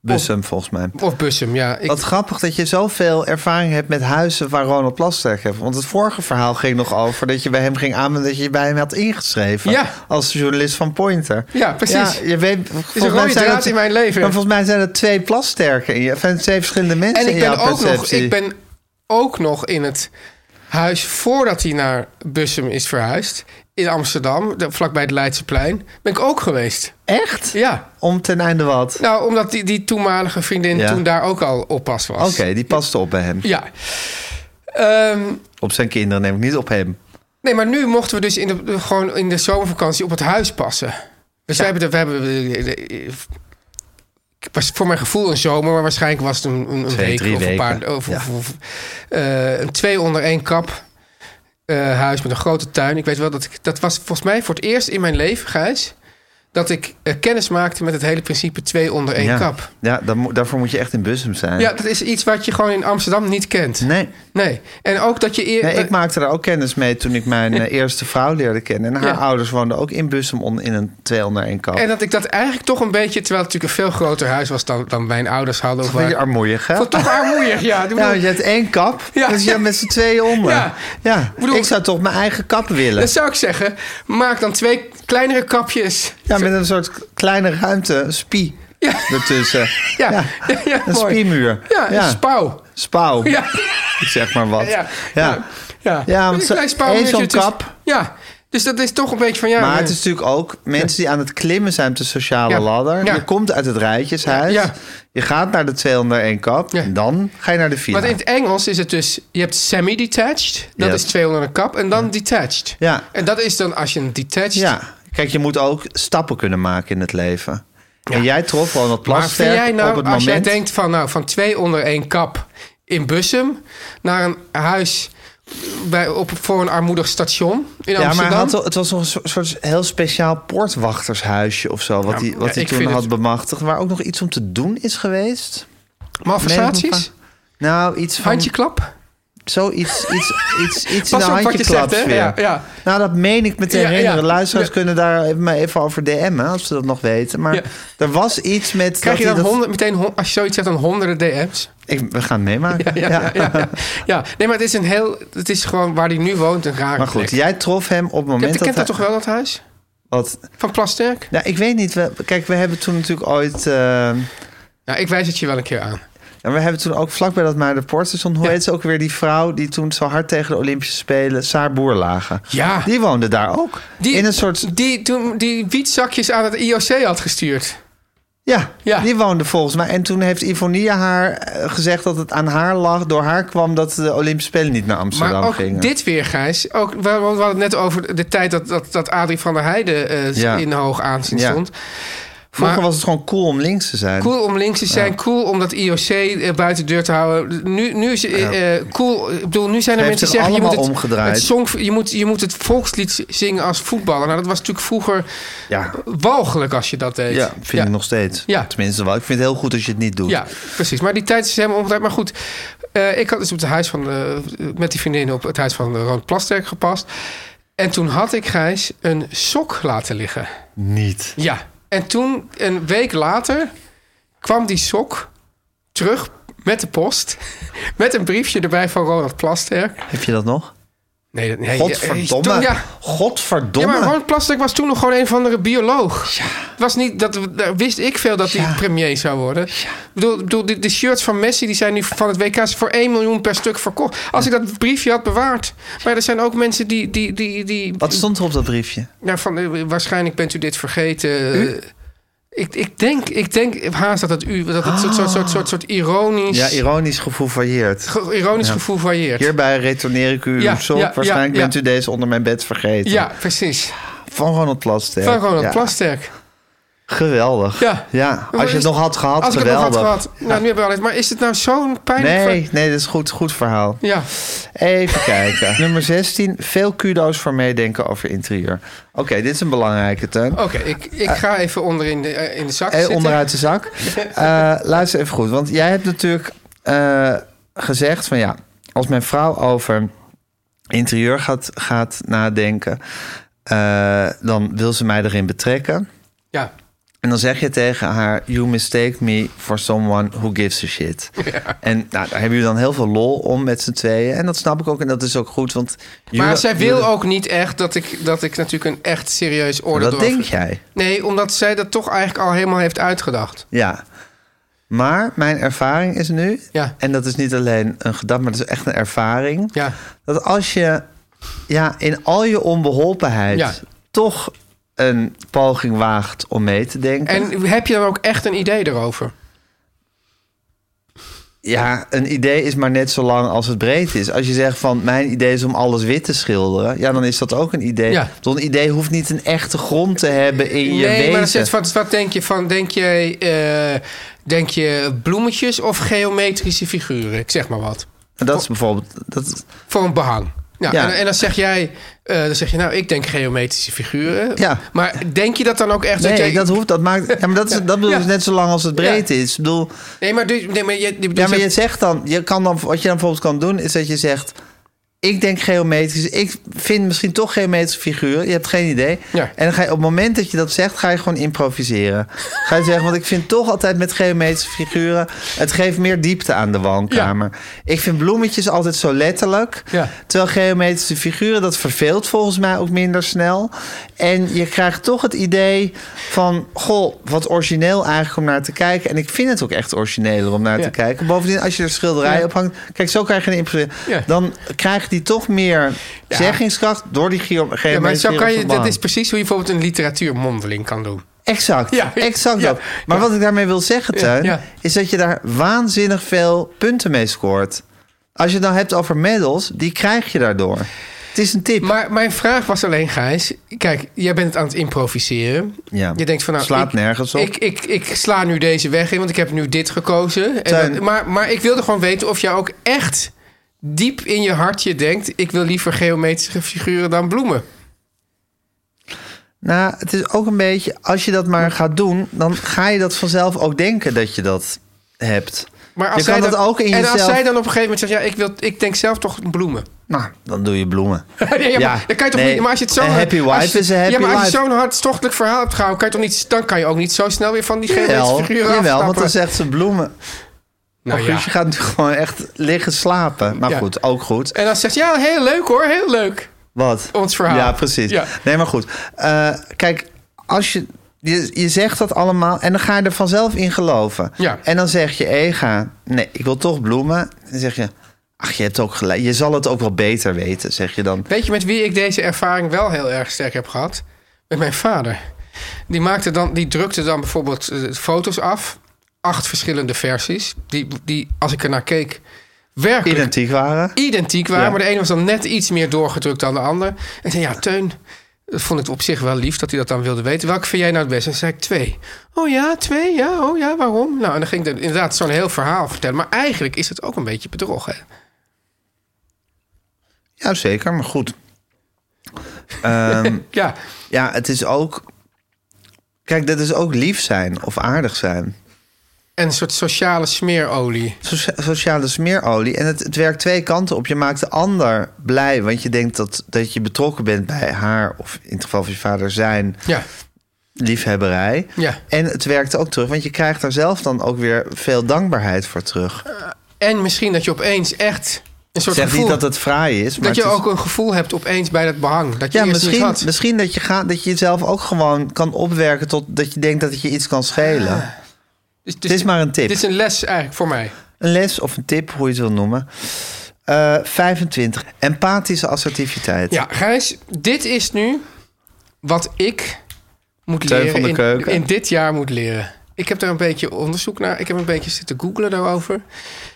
Bussum volgens mij.
Of Bussum, ja. Ik,
Wat grappig dat je zoveel ervaring hebt met huizen waar Ronald Plasterk heeft. Want het vorige verhaal ging nog over dat je bij hem ging aan... en dat je je bij hem had ingeschreven
Ja.
als journalist van Pointer.
Ja, precies.
je weet, volgens
rode
mij zijn
draad
dat-
in mijn leven.
Maar volgens mij zijn er twee Plasterken in je... of twee verschillende mensen
En ik
in
ben,
jouw
ook nog,
perceptie.
ik ben ook nog in het huis voordat hij naar Bussum is verhuisd. In Amsterdam, de- vlakbij het Leidseplein. Ben ik ook geweest.
Echt?
Ja.
Om ten einde wat?
Nou, omdat die, die toenmalige vriendin
Ja.
toen daar ook al oppas was.
Oké, die paste op bij hem.
Ja. Ehm,
Op zijn kinderen neem ik niet op hem.
nee, maar nu mochten we dus in de, de- gewoon in de zomervakantie op het huis passen. Dus wij hebben... De, we hebben de- de- de- ik was voor mijn gevoel een zomer, maar waarschijnlijk was het een, een, een
Twee,
week
drie
of een paar.
weken.
Of,
Ja.
of- of- eh, een twee onder één kap eh, huis met een grote tuin. Ik weet wel dat ik dat was volgens mij voor het eerst in mijn leven, Gijs, dat ik eh, kennis maakte met het hele principe twee onder één
ja.
kap.
Ja, dan mo- daarvoor moet je echt in Bussum zijn.
Ja, dat is iets wat je gewoon in Amsterdam niet kent.
Nee.
Nee. En ook dat je eer,
Nee, ik maakte daar ook kennis mee toen ik mijn eh, eerste vrouw leerde kennen. En haar
Ja.
ouders woonden ook in Bussum on- in een 201 kap.
En dat ik dat eigenlijk toch een beetje, terwijl het natuurlijk een veel groter huis was dan, dan mijn ouders hadden. Of
Een beetje
waar,
armoedig, hè?
vond toch armoeig, ja. Ik bedoel,
Ja, want Nou, je hebt één kap,
Ja.
dus je hebt met z'n tweeën onder.
Ja.
Ja.
Ik bedoel-
ik zou toch mijn eigen kap willen.
Dat zou ik zeggen. Maak dan twee kleinere kapjes.
Ja, met een soort kleine ruimte, een spie
Ja.
ertussen.
Ja, ja.
Een
mooi.
spiemuur.
Ja, een spouw.
Spouw,
Ja,
ik zeg maar wat.
ja.
Ja,
ja.
Ja, want
Een
zo-
klein spouwmuurtje
één zo'n
tussen-
kap.
Ja, dus dat is toch een beetje van ja. eh,
Maar het is natuurlijk ook mensen die aan het klimmen zijn op de sociale
Ja.
ladder.
Ja.
Je komt uit het rijtjeshuis.
Ja.
Je gaat naar de 201 kap.
Ja.
En dan ga je naar de villa.
Want in het Engels is het dus, je hebt semi-detached, dat
Ja.
is 200 een kap, en dan detached.
Ja.
En dat is dan als je een detached...
Ja, kijk, je moet ook stappen kunnen maken in het leven. En jij trof wel wat
Maar vind
plasterk
jij
op
nou,
het moment.
als jij denkt van, nou, van twee onder één kap in Bussum naar een huis bij, op, voor een armoedig station in
ja, maar
Amsterdam.
hij had, wel- het was nog een soort, soort heel speciaal poortwachtershuisje of zo. Wat
Ja,
hij, wat
ja,
hij
ik
toen
vind
had
het-
bemachtigd. Waar ook nog iets om te doen is geweest. Nee,
Malversaties?
nog een paar- Nou, iets van...
Handjeklap?
Zoiets, iets, iets, iets in
Pas
de
op wat je zegt,
handjeklap
hè?
weer.
Ja, ja.
Nou, dat meen ik meteen
Ja, ja.
herinneren. Luisteraars
Ja.
kunnen daar even- mij even over DM'en, als ze dat nog weten. Maar
Ja.
er was iets met...
Krijg je
dat hij
dan
dat-
honderd, meteen, hon- als je zoiets zegt, dan honderden DM's?
Ik, we gaan het meemaken.
Ja, ja, ja, ja. Ja. nee, maar het is een heel, het is gewoon waar hij nu woont een rare
Maar goed,
plek.
jij trof hem op het moment
Kent, kent
hij-
dat toch wel, dat huis?
Wat,
Van Plasterk?
nou, ik weet niet. We, kijk, we hebben toen natuurlijk ooit... eh,
Nou, ik wijs het je wel een keer aan.
en we hebben toen ook vlakbij dat maar de Portstation... Hoe
Ja.
heet ze ook weer? Die vrouw die toen zo hard tegen de Olympische Spelen... Saar Boerlagen.
Ja.
Die woonde daar ook.
Die,
in een soort...
Die, toen, die wietzakjes aan het IOC had gestuurd.
Ja,
Ja.
die woonde volgens mij. En toen heeft Ivonia haar eh, gezegd dat het aan haar lag, door haar kwam dat de Olympische Spelen niet naar Amsterdam
maar ook
gingen.
dit weer, Gijs. Ook, we, we hadden het net over de tijd dat, dat, dat Adrie van der Heijden eh,
Ja.
in hoog aanzien
Ja.
stond.
Vroeger
maar-
was het gewoon cool om links te zijn.
Cool om links te zijn, cool om dat IOC eh, buiten de deur te houden. Nu, nu is eh, eh, cool. Ik bedoel, nu zijn er
Ze
mensen
heeft
die
zich
zeggen: je moet het,
allemaal omgedraaid.
het song, je, moet, je moet het volkslied zingen als voetballer. Nou, dat was natuurlijk vroeger
Ja.
walgelijk als je dat deed.
Ja, vind ik nog steeds.
Ja.
Tenminste wel. Ik vind het heel goed als je het niet doet.
Ja, precies. Maar die tijd is helemaal omgedraaid. Maar goed, eh, ik had dus op het huis van, de- met die vriendin op het huis van eh, Ron Plasterk gepast. En toen had ik Gijs een sok laten liggen.
Niet.
Ja. En toen, een week later, kwam die sok terug met de post. Met een briefje erbij van Ronald Plasterk.
Heb je dat nog?
Nee, dat- nee eh,
Godverdomme.
toen- ja. Ja,
Godverdomme.
maar Ronald Plasterk was toen nog gewoon een van de bioloog. Het was niet, dat, daar wist ik veel dat hij premier zou worden. Ik bedoel, ik bedoel de, de shirts van Messi die zijn nu van het WK voor 1 miljoen per stuk verkocht. Als ik dat briefje had bewaard. Maar er zijn ook mensen die... die, die, die
Wat stond er op dat briefje?
nou, van, eh, waarschijnlijk bent u dit vergeten. Eh, Ik, ik, denk, ik denk haast dat het u... Dat het soort, soort, soort, soort, soort ironisch...
Ja, ironisch gevoevailleerd.
ge- ironisch gevoel varieert.
Hierbij retourneer ik u uw
Ja,
sok.
ja,
Waarschijnlijk
ja, ja.
bent u deze onder mijn bed vergeten.
Ja, precies.
Van Ronald Plasterk.
Van Ronald
Ja.
Plasterk.
Geweldig.
Ja.
Als je het nog had gehad,
Als ik het nog
geweldig.
had gehad. Nou, nu hebben we al eens. Maar is het nou zo'n pijnlijk...
Nee, nee, dat is goed, goed verhaal.
Ja.
Even kijken. Nummer 16. Veel kudo's voor meedenken over interieur. Oké, dit is een belangrijke, Teun.
Oké, ik, ik ga even onder in de, eh, in de zak
Eh,
zitten.
onderuit de zak. Eh, luister even goed. Want jij hebt natuurlijk eh, gezegd van ja, als mijn vrouw over interieur gaat, gaat nadenken, eh, dan wil ze mij erin betrekken.
Ja.
En dan zeg je tegen haar, you mistake me for someone who gives a shit. En nou, daar hebben jullie dan heel veel lol om met z'n tweeën. En dat snap ik ook en dat is ook goed. Want
Maar
jullie-
zij wil
jullie-
ook niet echt dat ik, dat ik natuurlijk een echt serieus oordeel
Dat
erover-
denk jij.
Nee, omdat zij dat toch eigenlijk al helemaal heeft uitgedacht.
Ja. Maar mijn ervaring is nu,
Ja.
en dat is niet alleen een gedachte, maar dat is echt een ervaring.
Ja.
Dat als je ja, in al je onbeholpenheid
Ja.
toch een poging waagt om mee te denken.
En heb je dan ook echt een idee erover?
Ja, een idee is maar net zo lang als het breed is. Als je zegt van mijn idee is om alles wit te schilderen, ja, dan is dat ook een idee.
Ja.
Zo'n idee hoeft niet een echte grond te hebben in je
nee,
wezen.
maar dan zit, wat, wat denk je van? Denk je, eh, denk je bloemetjes of geometrische figuren? Ik zeg maar wat.
Dat is bijvoorbeeld. Dat,
Voor een behang. Ja,
Ja.
En, en dan zeg jij, eh, dan zeg je, nou, ik denk geometrische figuren.
Ja.
Maar denk je dat dan ook echt?
nee,
jij-
dat hoeft. Dat maakt. Ja, maar dat, is, dat bedoel ik
Ja.
dus net zo lang als het breed is. Ik bedoel,
Nee, maar, dus, nee, maar, je, je bedoelt-
Ja, maar je zegt dan, je kan dan, wat je dan bijvoorbeeld kan doen, is dat je zegt: Ik denk geometrisch, ik vind misschien toch geometrische figuren, je hebt geen idee.
Ja.
En dan ga je op het moment dat je dat zegt, ga je gewoon improviseren. ga je zeggen, want ik vind toch altijd met geometrische figuren, het geeft meer diepte aan de woonkamer. Ik vind bloemetjes altijd zo letterlijk,
Ja.
terwijl geometrische figuren, dat verveelt volgens mij ook minder snel. En je krijgt toch het idee van, goh, wat origineel eigenlijk om naar te kijken. En ik vind het ook echt origineler om naar
Ja.
te kijken. Bovendien, als je er schilderij
Ja.
op hangt... Kijk, zo krijg je een impressie.
Ja.
Dan krijgt die toch meer
Ja.
zeggingskracht door die geometrie.
Ja, maar zo kan je, dat is precies hoe je bijvoorbeeld een literatuurmondeling kan doen.
Exact,
Ja.
exact
Ja.
dat. Maar
Ja.
wat ik daarmee wil zeggen,
Ja.
Tuin...
Ja.
is dat je daar waanzinnig veel punten mee scoort. Als je het nou hebt over medals, die krijg je daardoor. Het is een tip.
Maar mijn vraag was alleen, Gijs. Kijk, jij bent aan het improviseren.
Ja.
Je denkt van nou,
Slaat
ik,
nergens op.
Ik, ik, ik sla nu deze weg in, want ik heb nu dit gekozen. En
Tuin.
dat- maar, maar ik wilde gewoon weten of jij ook echt diep in je hartje denkt: ik wil liever geometrische figuren dan bloemen.
Nou, het is ook een beetje, als je dat maar gaat doen, dan ga je dat vanzelf ook denken dat je dat hebt.
Maar
je kan
zij
dat
dan-
ook in
En
jezelf.
als zij dan op een gegeven moment zegt: ja, ik, wil, ik denk zelf toch bloemen.
Nou, dan doe je bloemen.
Ja, ja, maar dan kan je toch
nee,
niet. Maar als je het zo
Een happy
als
wife
je-
is een happy
Ja, maar als je
wife.
zo'n hartstochtelijk verhaal hebt gehouden, kan je toch niet, dan kan je ook niet zo snel weer van die
Jawel,
geometrische figuren
jawel, want
afstappen.
dan zegt ze bloemen.
Nou
oh,
ja.
Guus, je gaat nu gewoon echt liggen slapen. Maar
Ja.
goed, ook goed.
En dan zegt ze, ja, heel leuk hoor, heel leuk.
Wat?
Ons verhaal.
Ja, precies.
Ja.
Nee, maar goed. Eh, kijk, als je, je, je zegt dat allemaal en dan ga je er vanzelf in geloven.
Ja.
En dan zeg je, Ega, nee, ik wil toch bloemen. En dan zeg je, ach, je hebt ook gelijk. Je zal het ook wel beter weten, zeg je dan.
Weet je met wie ik deze ervaring wel heel erg sterk heb gehad? Met mijn vader. Die, maakte dan, die drukte dan bijvoorbeeld eh, foto's af. Acht verschillende versies. Die, die als ik ernaar keek, werkelijk
Identiek waren.
identiek waren.
Ja.
Maar de ene was dan net iets meer doorgedrukt dan de ander. En zei, ja, Teun, dat vond ik op zich wel lief dat hij dat dan wilde weten. Welke vind jij nou het beste? En zei ik, twee. Oh ja, twee, ja, oh ja, waarom? Nou, en dan ging ik er inderdaad zo'n heel verhaal vertellen. Maar eigenlijk is het ook een beetje bedrog, hè?
Ja, zeker, maar goed. Ehm,
Ja,
ja, het is ook... Kijk, dat is ook lief zijn of aardig zijn.
en een soort sociale smeerolie.
Socia- sociale smeerolie. En het, het werkt twee kanten op. Je maakt de ander blij, want je denkt dat, dat je betrokken bent bij haar... of in het geval van je vader zijn
Ja,
liefhebberij.
Ja.
En het werkt ook terug, want je krijgt daar zelf dan ook weer veel dankbaarheid voor terug.
En misschien dat je opeens echt een
Ik
soort
zeg
gevoel...
niet dat het fraai is, maar
dat je
het is-
ook een gevoel hebt opeens bij dat behang. Dat je
ja,
eerst niet
misschien, dus
had.
misschien dat, je gaat, dat je jezelf ook gewoon kan opwerken tot dat je denkt dat het je iets kan schelen.
Dus
het is maar een tip.
Dit is een les eigenlijk voor mij.
Een les of een tip, hoe je het wil noemen. Eh, 25. Empathische assertiviteit.
Ja, Gijs, dit is nu wat ik moet
Teun
leren
van de
in,
Keuken.
in dit jaar moet leren. Ik heb daar een beetje onderzoek naar. Ik heb een beetje zitten googlen daarover.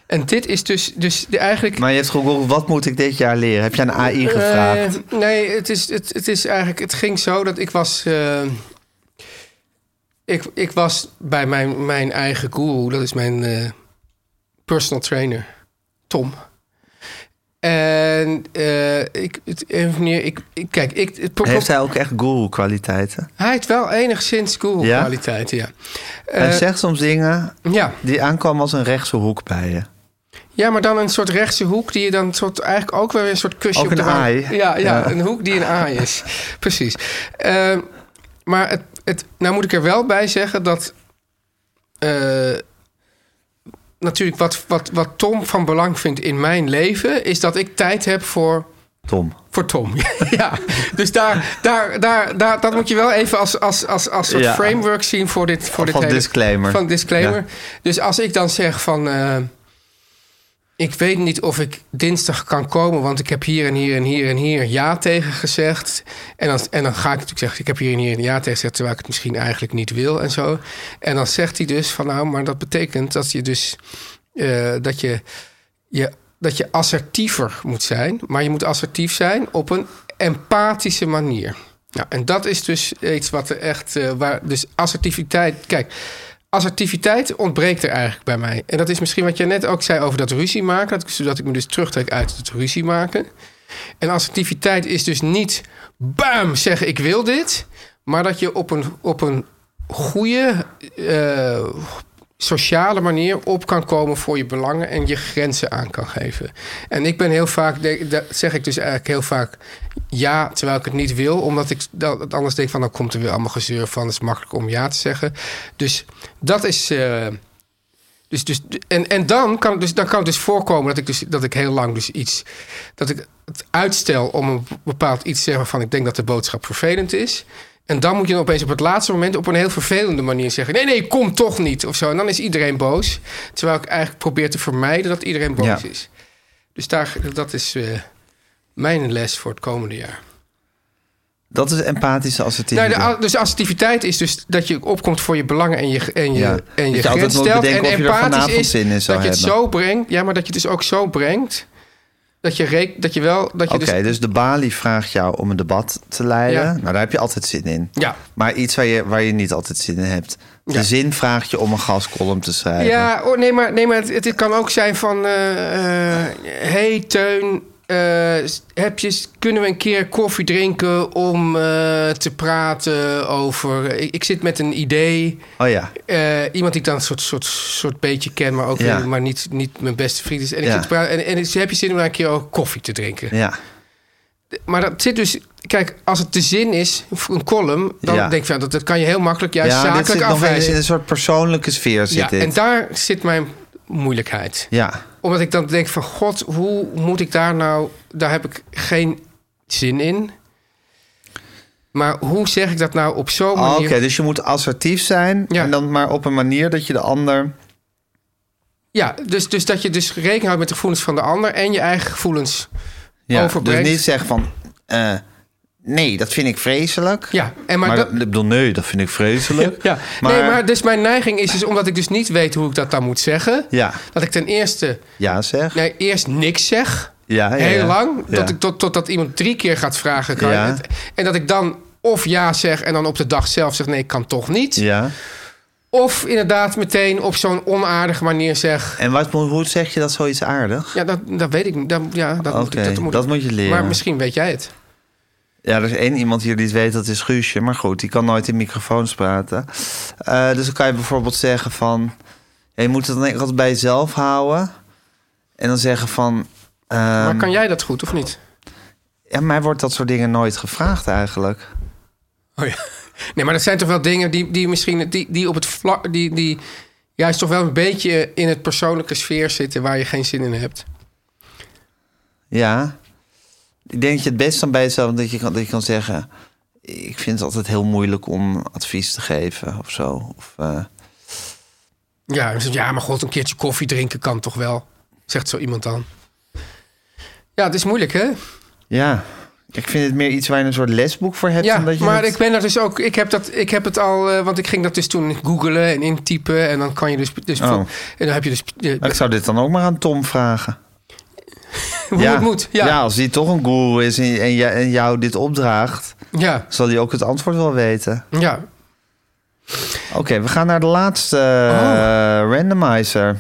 En dit is dus, dus de- eigenlijk...
Maar je hebt gegoogeld, wat moet ik dit jaar leren? Heb je aan AI gevraagd?
Eh, nee, het is, het, het is eigenlijk. Het ging zo dat ik was. eh, ik, ik was bij mijn, mijn eigen guru, dat is mijn eh, personal trainer, Tom. En eh, ik, het, een of meer, ik, ik, kijk, ik, het, pro-
Heeft hij ook echt guru-kwaliteiten?
hij heeft wel enigszins guru kwaliteiten, ja. Eh,
hij zegt soms dingen
Ja.
die aankomen als een rechtse hoek bij je.
Ja, maar dan een soort rechtse hoek die je dan soort, eigenlijk ook wel weer een soort kusje
Ook
op de
een
wang-
aai.
Ja, ja,
Ja.
een hoek die een aai is. Precies. Ehm, maar het, het, nou moet ik er wel bij zeggen dat. eh, natuurlijk, wat, wat, wat Tom van belang vindt in mijn leven, is dat ik tijd heb voor
Tom.
voor Tom. ja, dus daar, daar, daar, daar, dat moet je wel even als, als, als, als soort
Ja.
framework zien voor dit, voor dit
Van
hele,
disclaimer.
Van disclaimer.
Ja.
Dus als ik dan zeg van, eh, ik weet niet of ik dinsdag kan komen, want ik heb hier en hier en hier en hier ja tegen gezegd. En dan, en dan ga ik natuurlijk zeggen, ik heb hier en hier een ja tegen gezegd, terwijl ik het misschien eigenlijk niet wil en zo. En dan zegt hij dus van, nou, maar dat betekent dat je dus, eh, dat je je, dat je assertiever moet zijn. Maar je moet assertief zijn op een empathische manier. Nou, en dat is dus iets wat er echt. eh, waar, dus assertiviteit. Kijk, assertiviteit ontbreekt er eigenlijk bij mij. En dat is misschien wat jij net ook zei over dat ruzie maken. Dat, ik- zodat ik me dus terugtrek uit het ruzie maken. En assertiviteit is dus niet. Bam, zeggen ik wil dit. Maar dat je op een, op een goede. eh, sociale manier op kan komen voor je belangen en je grenzen aan kan geven. En ik ben heel vaak, denk- dat zeg ik dus eigenlijk heel vaak ja, terwijl ik het niet wil, omdat ik dat, anders denk van dan komt er weer allemaal gezeur van, het is makkelijk om ja te zeggen. Dus dat is. eh, dus, dus, en en dan, kan het dus, dan kan het dus voorkomen dat ik, dus, dat ik heel lang dus iets. dat ik het uitstel om een bepaald iets te zeggen van ik denk dat de boodschap vervelend is. En dan moet je dan opeens op het laatste moment op een heel vervelende manier zeggen: nee, nee, kom toch niet of zo. En dan is iedereen boos. Terwijl ik eigenlijk probeer te vermijden dat iedereen boos
Ja.
is. Dus daar, dat is eh, mijn les voor het komende jaar.
Dat is empathische
Nou,
assertiviteit.
de, a- dus assertiviteit is dus dat je opkomt voor je belangen en je, en je,
Ja.
en
Dat
je,
je altijd
grens
moet
stelt. En
bedenken of je er
empathisch
vanavond
is
zin in
dat je
zou
het
hebben.
zo brengt. Ja, maar dat je het dus ook zo brengt. Dat je, rek- dat je wel... Dat je
Oké,
dus,
dus, de balie vraagt jou om een debat te leiden.
Ja.
Nou, daar heb je altijd zin in.
Ja.
Maar iets waar je, waar je niet altijd zin in hebt. De
Ja.
zin vraagt je om een gascolumn te schrijven.
Ja, oh, nee, maar, nee, maar het, het kan ook zijn van... eh, eh, hey Teun, eh, heb je, kunnen we een keer koffie drinken om eh, te praten over... Ik, ik zit met een idee...
Oh ja.
Eh, iemand die ik dan een soort, soort, soort beetje ken, maar ook
Ja.
weer- maar niet, niet mijn beste vriend is. En, ik
Ja.
zit te praten, en, en ik- heb je zin om daar een keer ook koffie te drinken?
Ja.
Maar dat zit dus... Kijk, als het de zin is, voor een column... dan
Ja.
denk ik, van, dat, dat kan je heel makkelijk juist
ja, dit zit
zakelijk
nog wel eens in
afwijzen.
een soort persoonlijke sfeer zit
Ja,
dit.
en daar zit mijn moeilijkheid.
ja.
Omdat ik dan denk van... God, hoe moet ik daar nou... Daar heb ik geen zin in. Maar hoe zeg ik dat nou op zo'n
Oh, Oké,
manier...
dus je moet assertief zijn.
Ja.
En dan maar op een manier dat je de ander...
Ja, dus, dus dat je dus rekening houdt met de gevoelens van de ander... en je eigen gevoelens
Ja, dus
Overbrengt.
niet zeggen van... eh, nee, dat vind ik vreselijk.
Ja, en maar,
maar
dat,
dat- ik bedoel, nee, dat vind ik vreselijk.
ja.
maar,
nee, maar dus mijn neiging is dus omdat ik dus niet weet hoe ik dat dan moet zeggen.
Ja,
Dat ik ten eerste
ja zeg.
nee, eerst niks zeg.
Ja, ja,
heel
ja.
lang.
Ja.
Dat ik tot, totdat iemand drie keer gaat vragen. Kan je
Ja.
het? En dat ik dan of ja zeg en dan op de dag zelf zeg nee, ik kan toch niet.
Ja.
Of inderdaad meteen op zo'n onaardige manier zeg.
En wat, moet- hoe zeg je dat zoiets aardig?
Ja, dat, dat weet ik. niet. Dat, ja, dat moet ik.
Oké,
Dat moet,
dat
ik.
moet je leren.
Maar misschien weet jij het.
Ja, er is één iemand hier die het weet, dat is Guusje. Maar goed, die kan nooit in microfoons praten. Eh, dus dan kan je bijvoorbeeld zeggen van... ja, je moet het dan denk ik altijd bij jezelf houden. En dan zeggen van... ehm,
maar kan jij dat goed of niet?
ja, mij wordt dat soort dingen nooit gevraagd eigenlijk.
Oh ja. Nee, maar dat zijn toch wel dingen die, die misschien die, die op het vlak. Die, die juist toch wel een beetje in het persoonlijke sfeer zitten waar je geen zin in hebt.
Ja. Ik denk dat je het best dan bij jezelf dat je kan, dat je kan zeggen... ik vind het altijd heel moeilijk om advies te geven of zo. Of, eh,
Ja, en ze zegt, ja, maar god, een keertje koffie drinken kan toch wel? Zegt zo iemand dan. Ja, het is moeilijk, hè?
ja, ik vind het meer iets waar je een soort lesboek voor hebt.
Ja,
dan dat je
maar
het-
ik ben daar dus ook. Ik heb, dat, ik heb het al, eh, want ik ging dat dus toen googelen en intypen. En dan kan je dus. dus
Oh.
En dan heb je dus. eh,
Maar ik zou dit dan ook maar aan Tom vragen.
hoe het moet. Ja, ja.
als hij toch een guru is en, en, jij- en jou dit opdraagt...
ja,
zal hij ook het antwoord wel weten. Oké, we gaan naar de laatste
Oh.
eh, randomizer.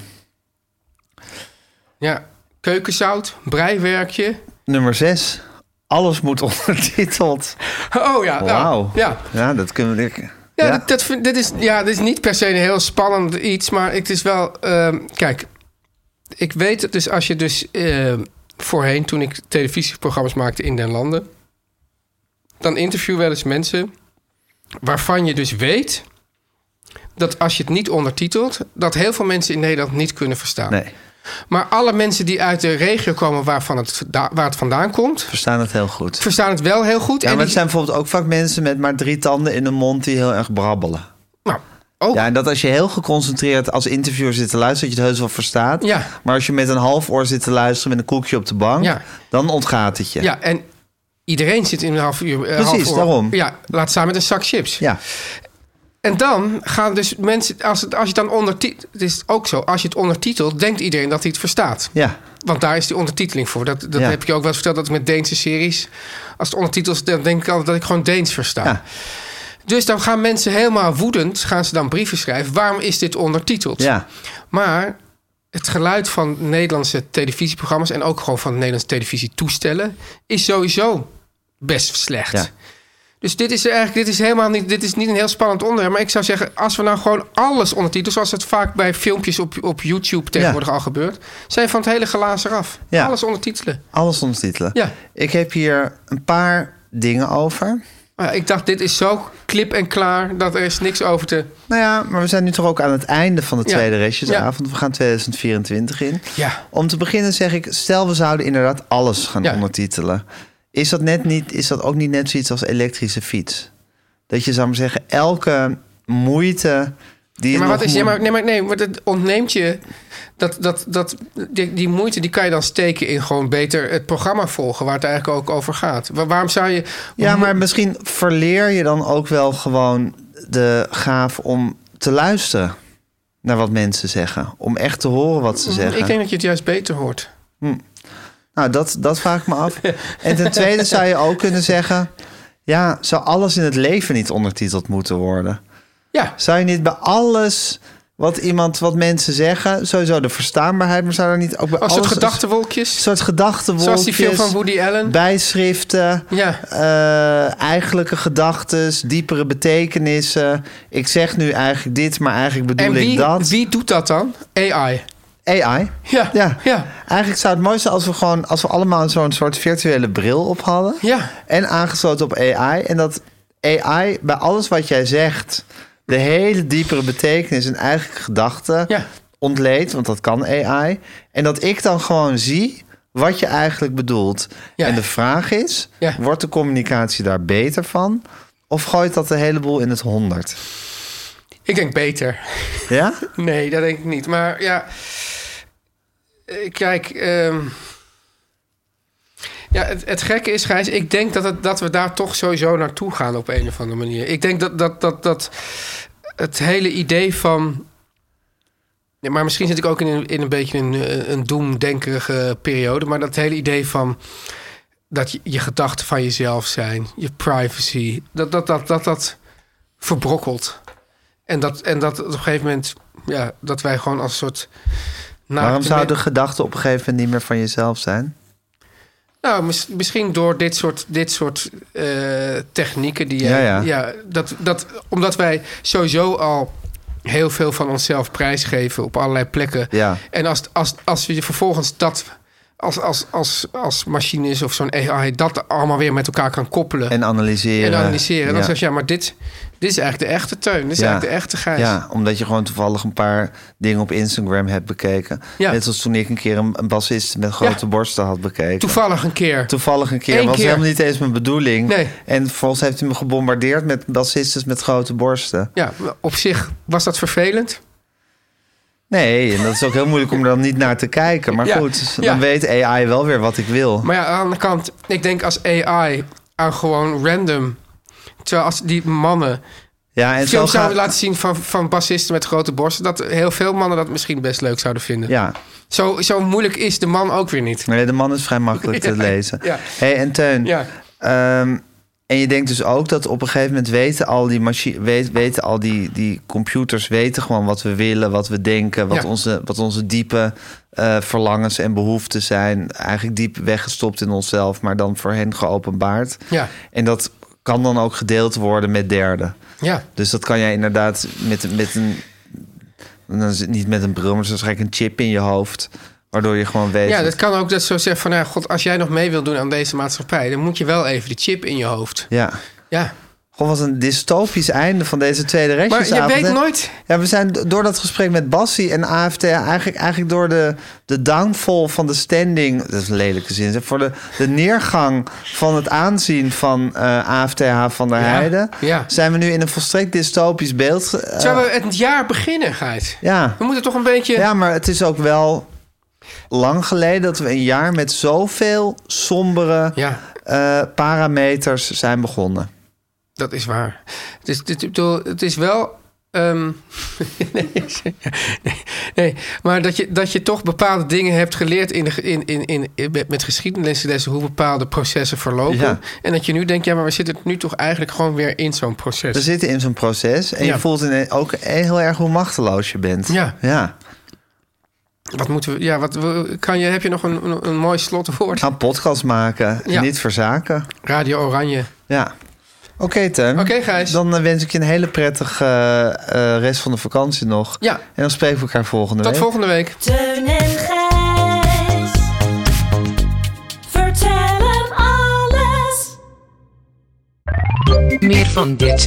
ja. Keukenzout, breiwerkje.
Nummer 6. Alles moet ondertiteld.
Oh ja, nou,
Wauw.
ja.
ja, dat kunnen we...
Ja, Dat, dat, vind- dit is, ja, dit is niet per se een heel spannend iets, maar het is wel. ehm, kijk, ik weet het dus als je dus ehm, voorheen, toen ik televisieprogramma's maakte in den landen, dan interview wel eens mensen waarvan je dus weet dat als je het niet ondertitelt, dat heel veel mensen in Nederland niet kunnen verstaan.
Nee,
Maar alle mensen die uit de regio komen waarvan het, da- waar het vandaan komt,
we verstaan het heel goed.
verstaan het wel heel goed.
Ja, maar
die-
het zijn bijvoorbeeld ook vaak mensen met maar drie tanden in de mond die heel erg brabbelen.
nou, ook,
Ja, en dat als je heel geconcentreerd als interviewer zit te luisteren, dat je het heus wel verstaat.
Ja.
Maar als je met een half oor zit te luisteren met een koekje op de bank,
Ja.
dan ontgaat het je.
Ja, en iedereen zit in een half uur. eh,
Precies,
half uur.
daarom.
Ja, laat staan met een zak chips.
Ja.
En dan gaan dus mensen, als, het, als je dan ondertitelt, het is ook zo, als je het ondertitelt, denkt iedereen dat hij het verstaat.
Ja.
Want daar is die ondertiteling voor. Dat, dat
Ja.
heb ik je ook wel eens verteld, dat met Deense series, als het ondertitels, dan denk ik altijd dat ik gewoon Deens versta.
Ja.
Dus dan gaan mensen helemaal woedend, gaan ze dan brieven schrijven, waarom is dit ondertiteld?
Ja.
Maar het geluid van Nederlandse televisieprogramma's en ook gewoon van Nederlandse televisietoestellen is sowieso best slecht.
Ja.
Dus dit is eigenlijk dit is helemaal niet, dit is niet een heel spannend onderwerp. Maar ik zou zeggen, als we nou gewoon alles ondertitelen, zoals het vaak bij filmpjes op, op YouTube tegenwoordig al gebeurt, zijn van het hele glazen eraf.
Ja.
Alles ondertitelen.
Alles ondertitelen.
Ja.
Ik heb hier een paar dingen over.
Maar ik dacht, dit is zo klip en klaar dat er is niks over te.
Nou ja, maar we zijn nu toch ook aan het einde van de
Ja.
tweede restjesavond.
Ja.
We gaan 2024 in.
Ja.
Om te beginnen zeg ik, stel we zouden inderdaad alles gaan
Ja.
ondertitelen. Is dat, net niet, is dat ook niet net zoiets als elektrische fiets? Dat je, zou maar zeggen, elke moeite die je
maar
nog
wat is,
moet-
ja, maar, nee, maar, nee, maar dat ontneemt je. Dat, dat, dat, die, die moeite die kan je dan steken in gewoon beter het programma volgen, waar het eigenlijk ook over gaat. Wa- waarom zou je.
Ja, maar misschien verleer je dan ook wel gewoon de gaaf om te luisteren naar wat mensen zeggen. Om echt te horen wat ze zeggen.
Ik denk dat je het juist beter hoort.
Nou, dat, dat vraag ik me af. En ten tweede zou je ook kunnen zeggen... ja, zou alles in het leven niet ondertiteld moeten worden?
Ja,
Zou je niet bij alles wat iemand, wat mensen zeggen... sowieso de verstaanbaarheid, maar zou er niet ook bij
als
alles...
soort
Een
gedachtenwolkjes.
soort gedachtenwolkjes...
Zoals die film van Woody Allen.
Bijschriften,
Ja.
eh, eigenlijke gedachten, diepere betekenissen. Ik zeg nu eigenlijk dit, maar eigenlijk bedoel
En
ik
wie,
dat.
wie doet dat dan? AI.
AI.
Ja,
Ja.
ja.
Eigenlijk zou het mooi zijn als we gewoon, als we allemaal zo'n soort virtuele bril op hadden.
Ja.
En aangesloten op AI. En dat AI bij alles wat jij zegt, de hele diepere betekenis en eigen gedachten
Ja.
ontleedt, want dat kan AI. En dat ik dan gewoon zie wat je eigenlijk bedoelt.
Ja.
En de vraag is,
Ja.
wordt de communicatie daar beter van? Of gooit dat de hele boel in het honderd?
Ik denk beter.
Ja?
Nee, dat denk ik niet. Maar ja, eh, kijk, ehm, ja, het, het gekke is, Gijs, ik denk dat, het, dat we daar toch sowieso naartoe gaan op een of andere manier. Ik denk dat, dat, dat, dat het hele idee van... Ja, maar misschien zit ik ook in een, in een beetje een, eh, een doemdenkerige periode. Maar dat hele idee van dat je, je gedachten van jezelf zijn, je privacy, dat dat, dat, dat, dat verbrokkelt. En dat, en dat op een gegeven moment, ja, dat wij gewoon als soort. naakte
Waarom zou
men-
de gedachte op een gegeven moment niet meer van jezelf zijn?
Nou, mis- misschien door dit soort, dit soort eh, technieken die
Ja,
jij-
ja.
dat, dat, omdat wij sowieso al heel veel van onszelf prijsgeven op allerlei plekken.
Ja.
En als, als, als je vervolgens dat als, als, als, als machines of zo'n AI dat allemaal weer met elkaar kan koppelen.
En analyseren.
En analyseren. En
Ja.
dan zeg je, ja, maar dit, dit is eigenlijk de echte teun. Dit is
Ja.
eigenlijk de echte Gijs.
Ja, omdat je gewoon toevallig een paar dingen op Instagram hebt bekeken.
Ja.
Net als toen ik een keer een, een bassist met grote
Ja.
borsten had bekeken.
Toevallig een keer.
Toevallig een keer.
Eén
was
keer.
helemaal niet eens mijn bedoeling.
Nee.
En vervolgens heeft hij me gebombardeerd met bassistes met grote borsten.
ja, op zich was dat vervelend.
Nee, en dat is ook heel moeilijk om er dan niet naar te kijken. Maar
Ja,
goed, dan
ja.
weet AI wel weer wat ik wil.
Maar ja, aan de andere kant, ik denk als AI aan gewoon random. Terwijl als die mannen
ja, en zo gaat...
films zouden laten zien van, van bassisten met grote borsten, dat heel veel mannen dat misschien best leuk zouden vinden.
Ja,
Zo, zo moeilijk is de man ook weer niet.
nee, de man is vrij makkelijk te
Ja,
lezen.
ja.
hey, en Teun,
Ja,
Ehm, en je denkt dus ook dat op een gegeven moment weten al die machi- weet, weten al die, die computers weten gewoon wat we willen, wat we denken, wat,
Ja.
onze, wat onze diepe eh, verlangens en behoeften zijn. Eigenlijk diep weggestopt in onszelf, maar dan voor hen geopenbaard.
Ja.
En dat kan dan ook gedeeld worden met derden.
ja.
Dus dat kan jij inderdaad met, met een. Dan is het niet met een bril, maar het is waarschijnlijk een chip in je hoofd. Waardoor je gewoon weet.
ja, dat kan ook dat ze zo zeggen van, nou god, als jij nog mee wilt doen aan deze maatschappij, dan moet je wel even de chip in je hoofd.
ja.
Ja,
Gewoon was een dystopisch einde van deze tweede
maar
restjesavond.
je weet
hè?
nooit.
Ja, we zijn do- door dat gesprek met Bassie en AFT eigenlijk, eigenlijk door de, de downfall van de standing. Dat is een lelijke zin. zeg, Voor de, de neergang van het aanzien van eh AFTH van der
Ja,
Heijden.
ja.
Zijn we nu in een volstrekt dystopisch beeld. eh,
Zullen we het jaar beginnen, Gijs?
ja.
We moeten toch een beetje...
ja, maar het is ook wel lang geleden dat we een jaar met zoveel sombere
ja.
eh, parameters zijn begonnen.
Dat is waar. Het is, dit, ik bedoel, het is wel. ehm, nee, nee, nee, maar dat je, dat je toch bepaalde dingen hebt geleerd in de, ge- in, in, in, in- met- met geschiedenislessen, hoe bepaalde processen verlopen.
Ja.
En dat je nu denkt, ja, maar we zitten nu toch eigenlijk gewoon weer in zo'n proces.
We zitten in zo'n proces en je
Ja.
voelt ineens ook heel erg hoe machteloos je bent.
Ja.
ja.
Wat moeten we, ja, wat, we- kan je, heb je nog een, een, een mooi slotwoord?
Gaan podcast maken en
Ja.
niet verzaken.
Radio Oranje.
Ja. Oké, Teun.
Oké, Gijs.
Dan eh, wens ik je een hele prettige eh, eh, rest van de vakantie nog.
Ja.
En dan spreken we elkaar volgende
Tot
week.
volgende week.
Teun en Gijs. Vertel hem alles.
Meer van dit.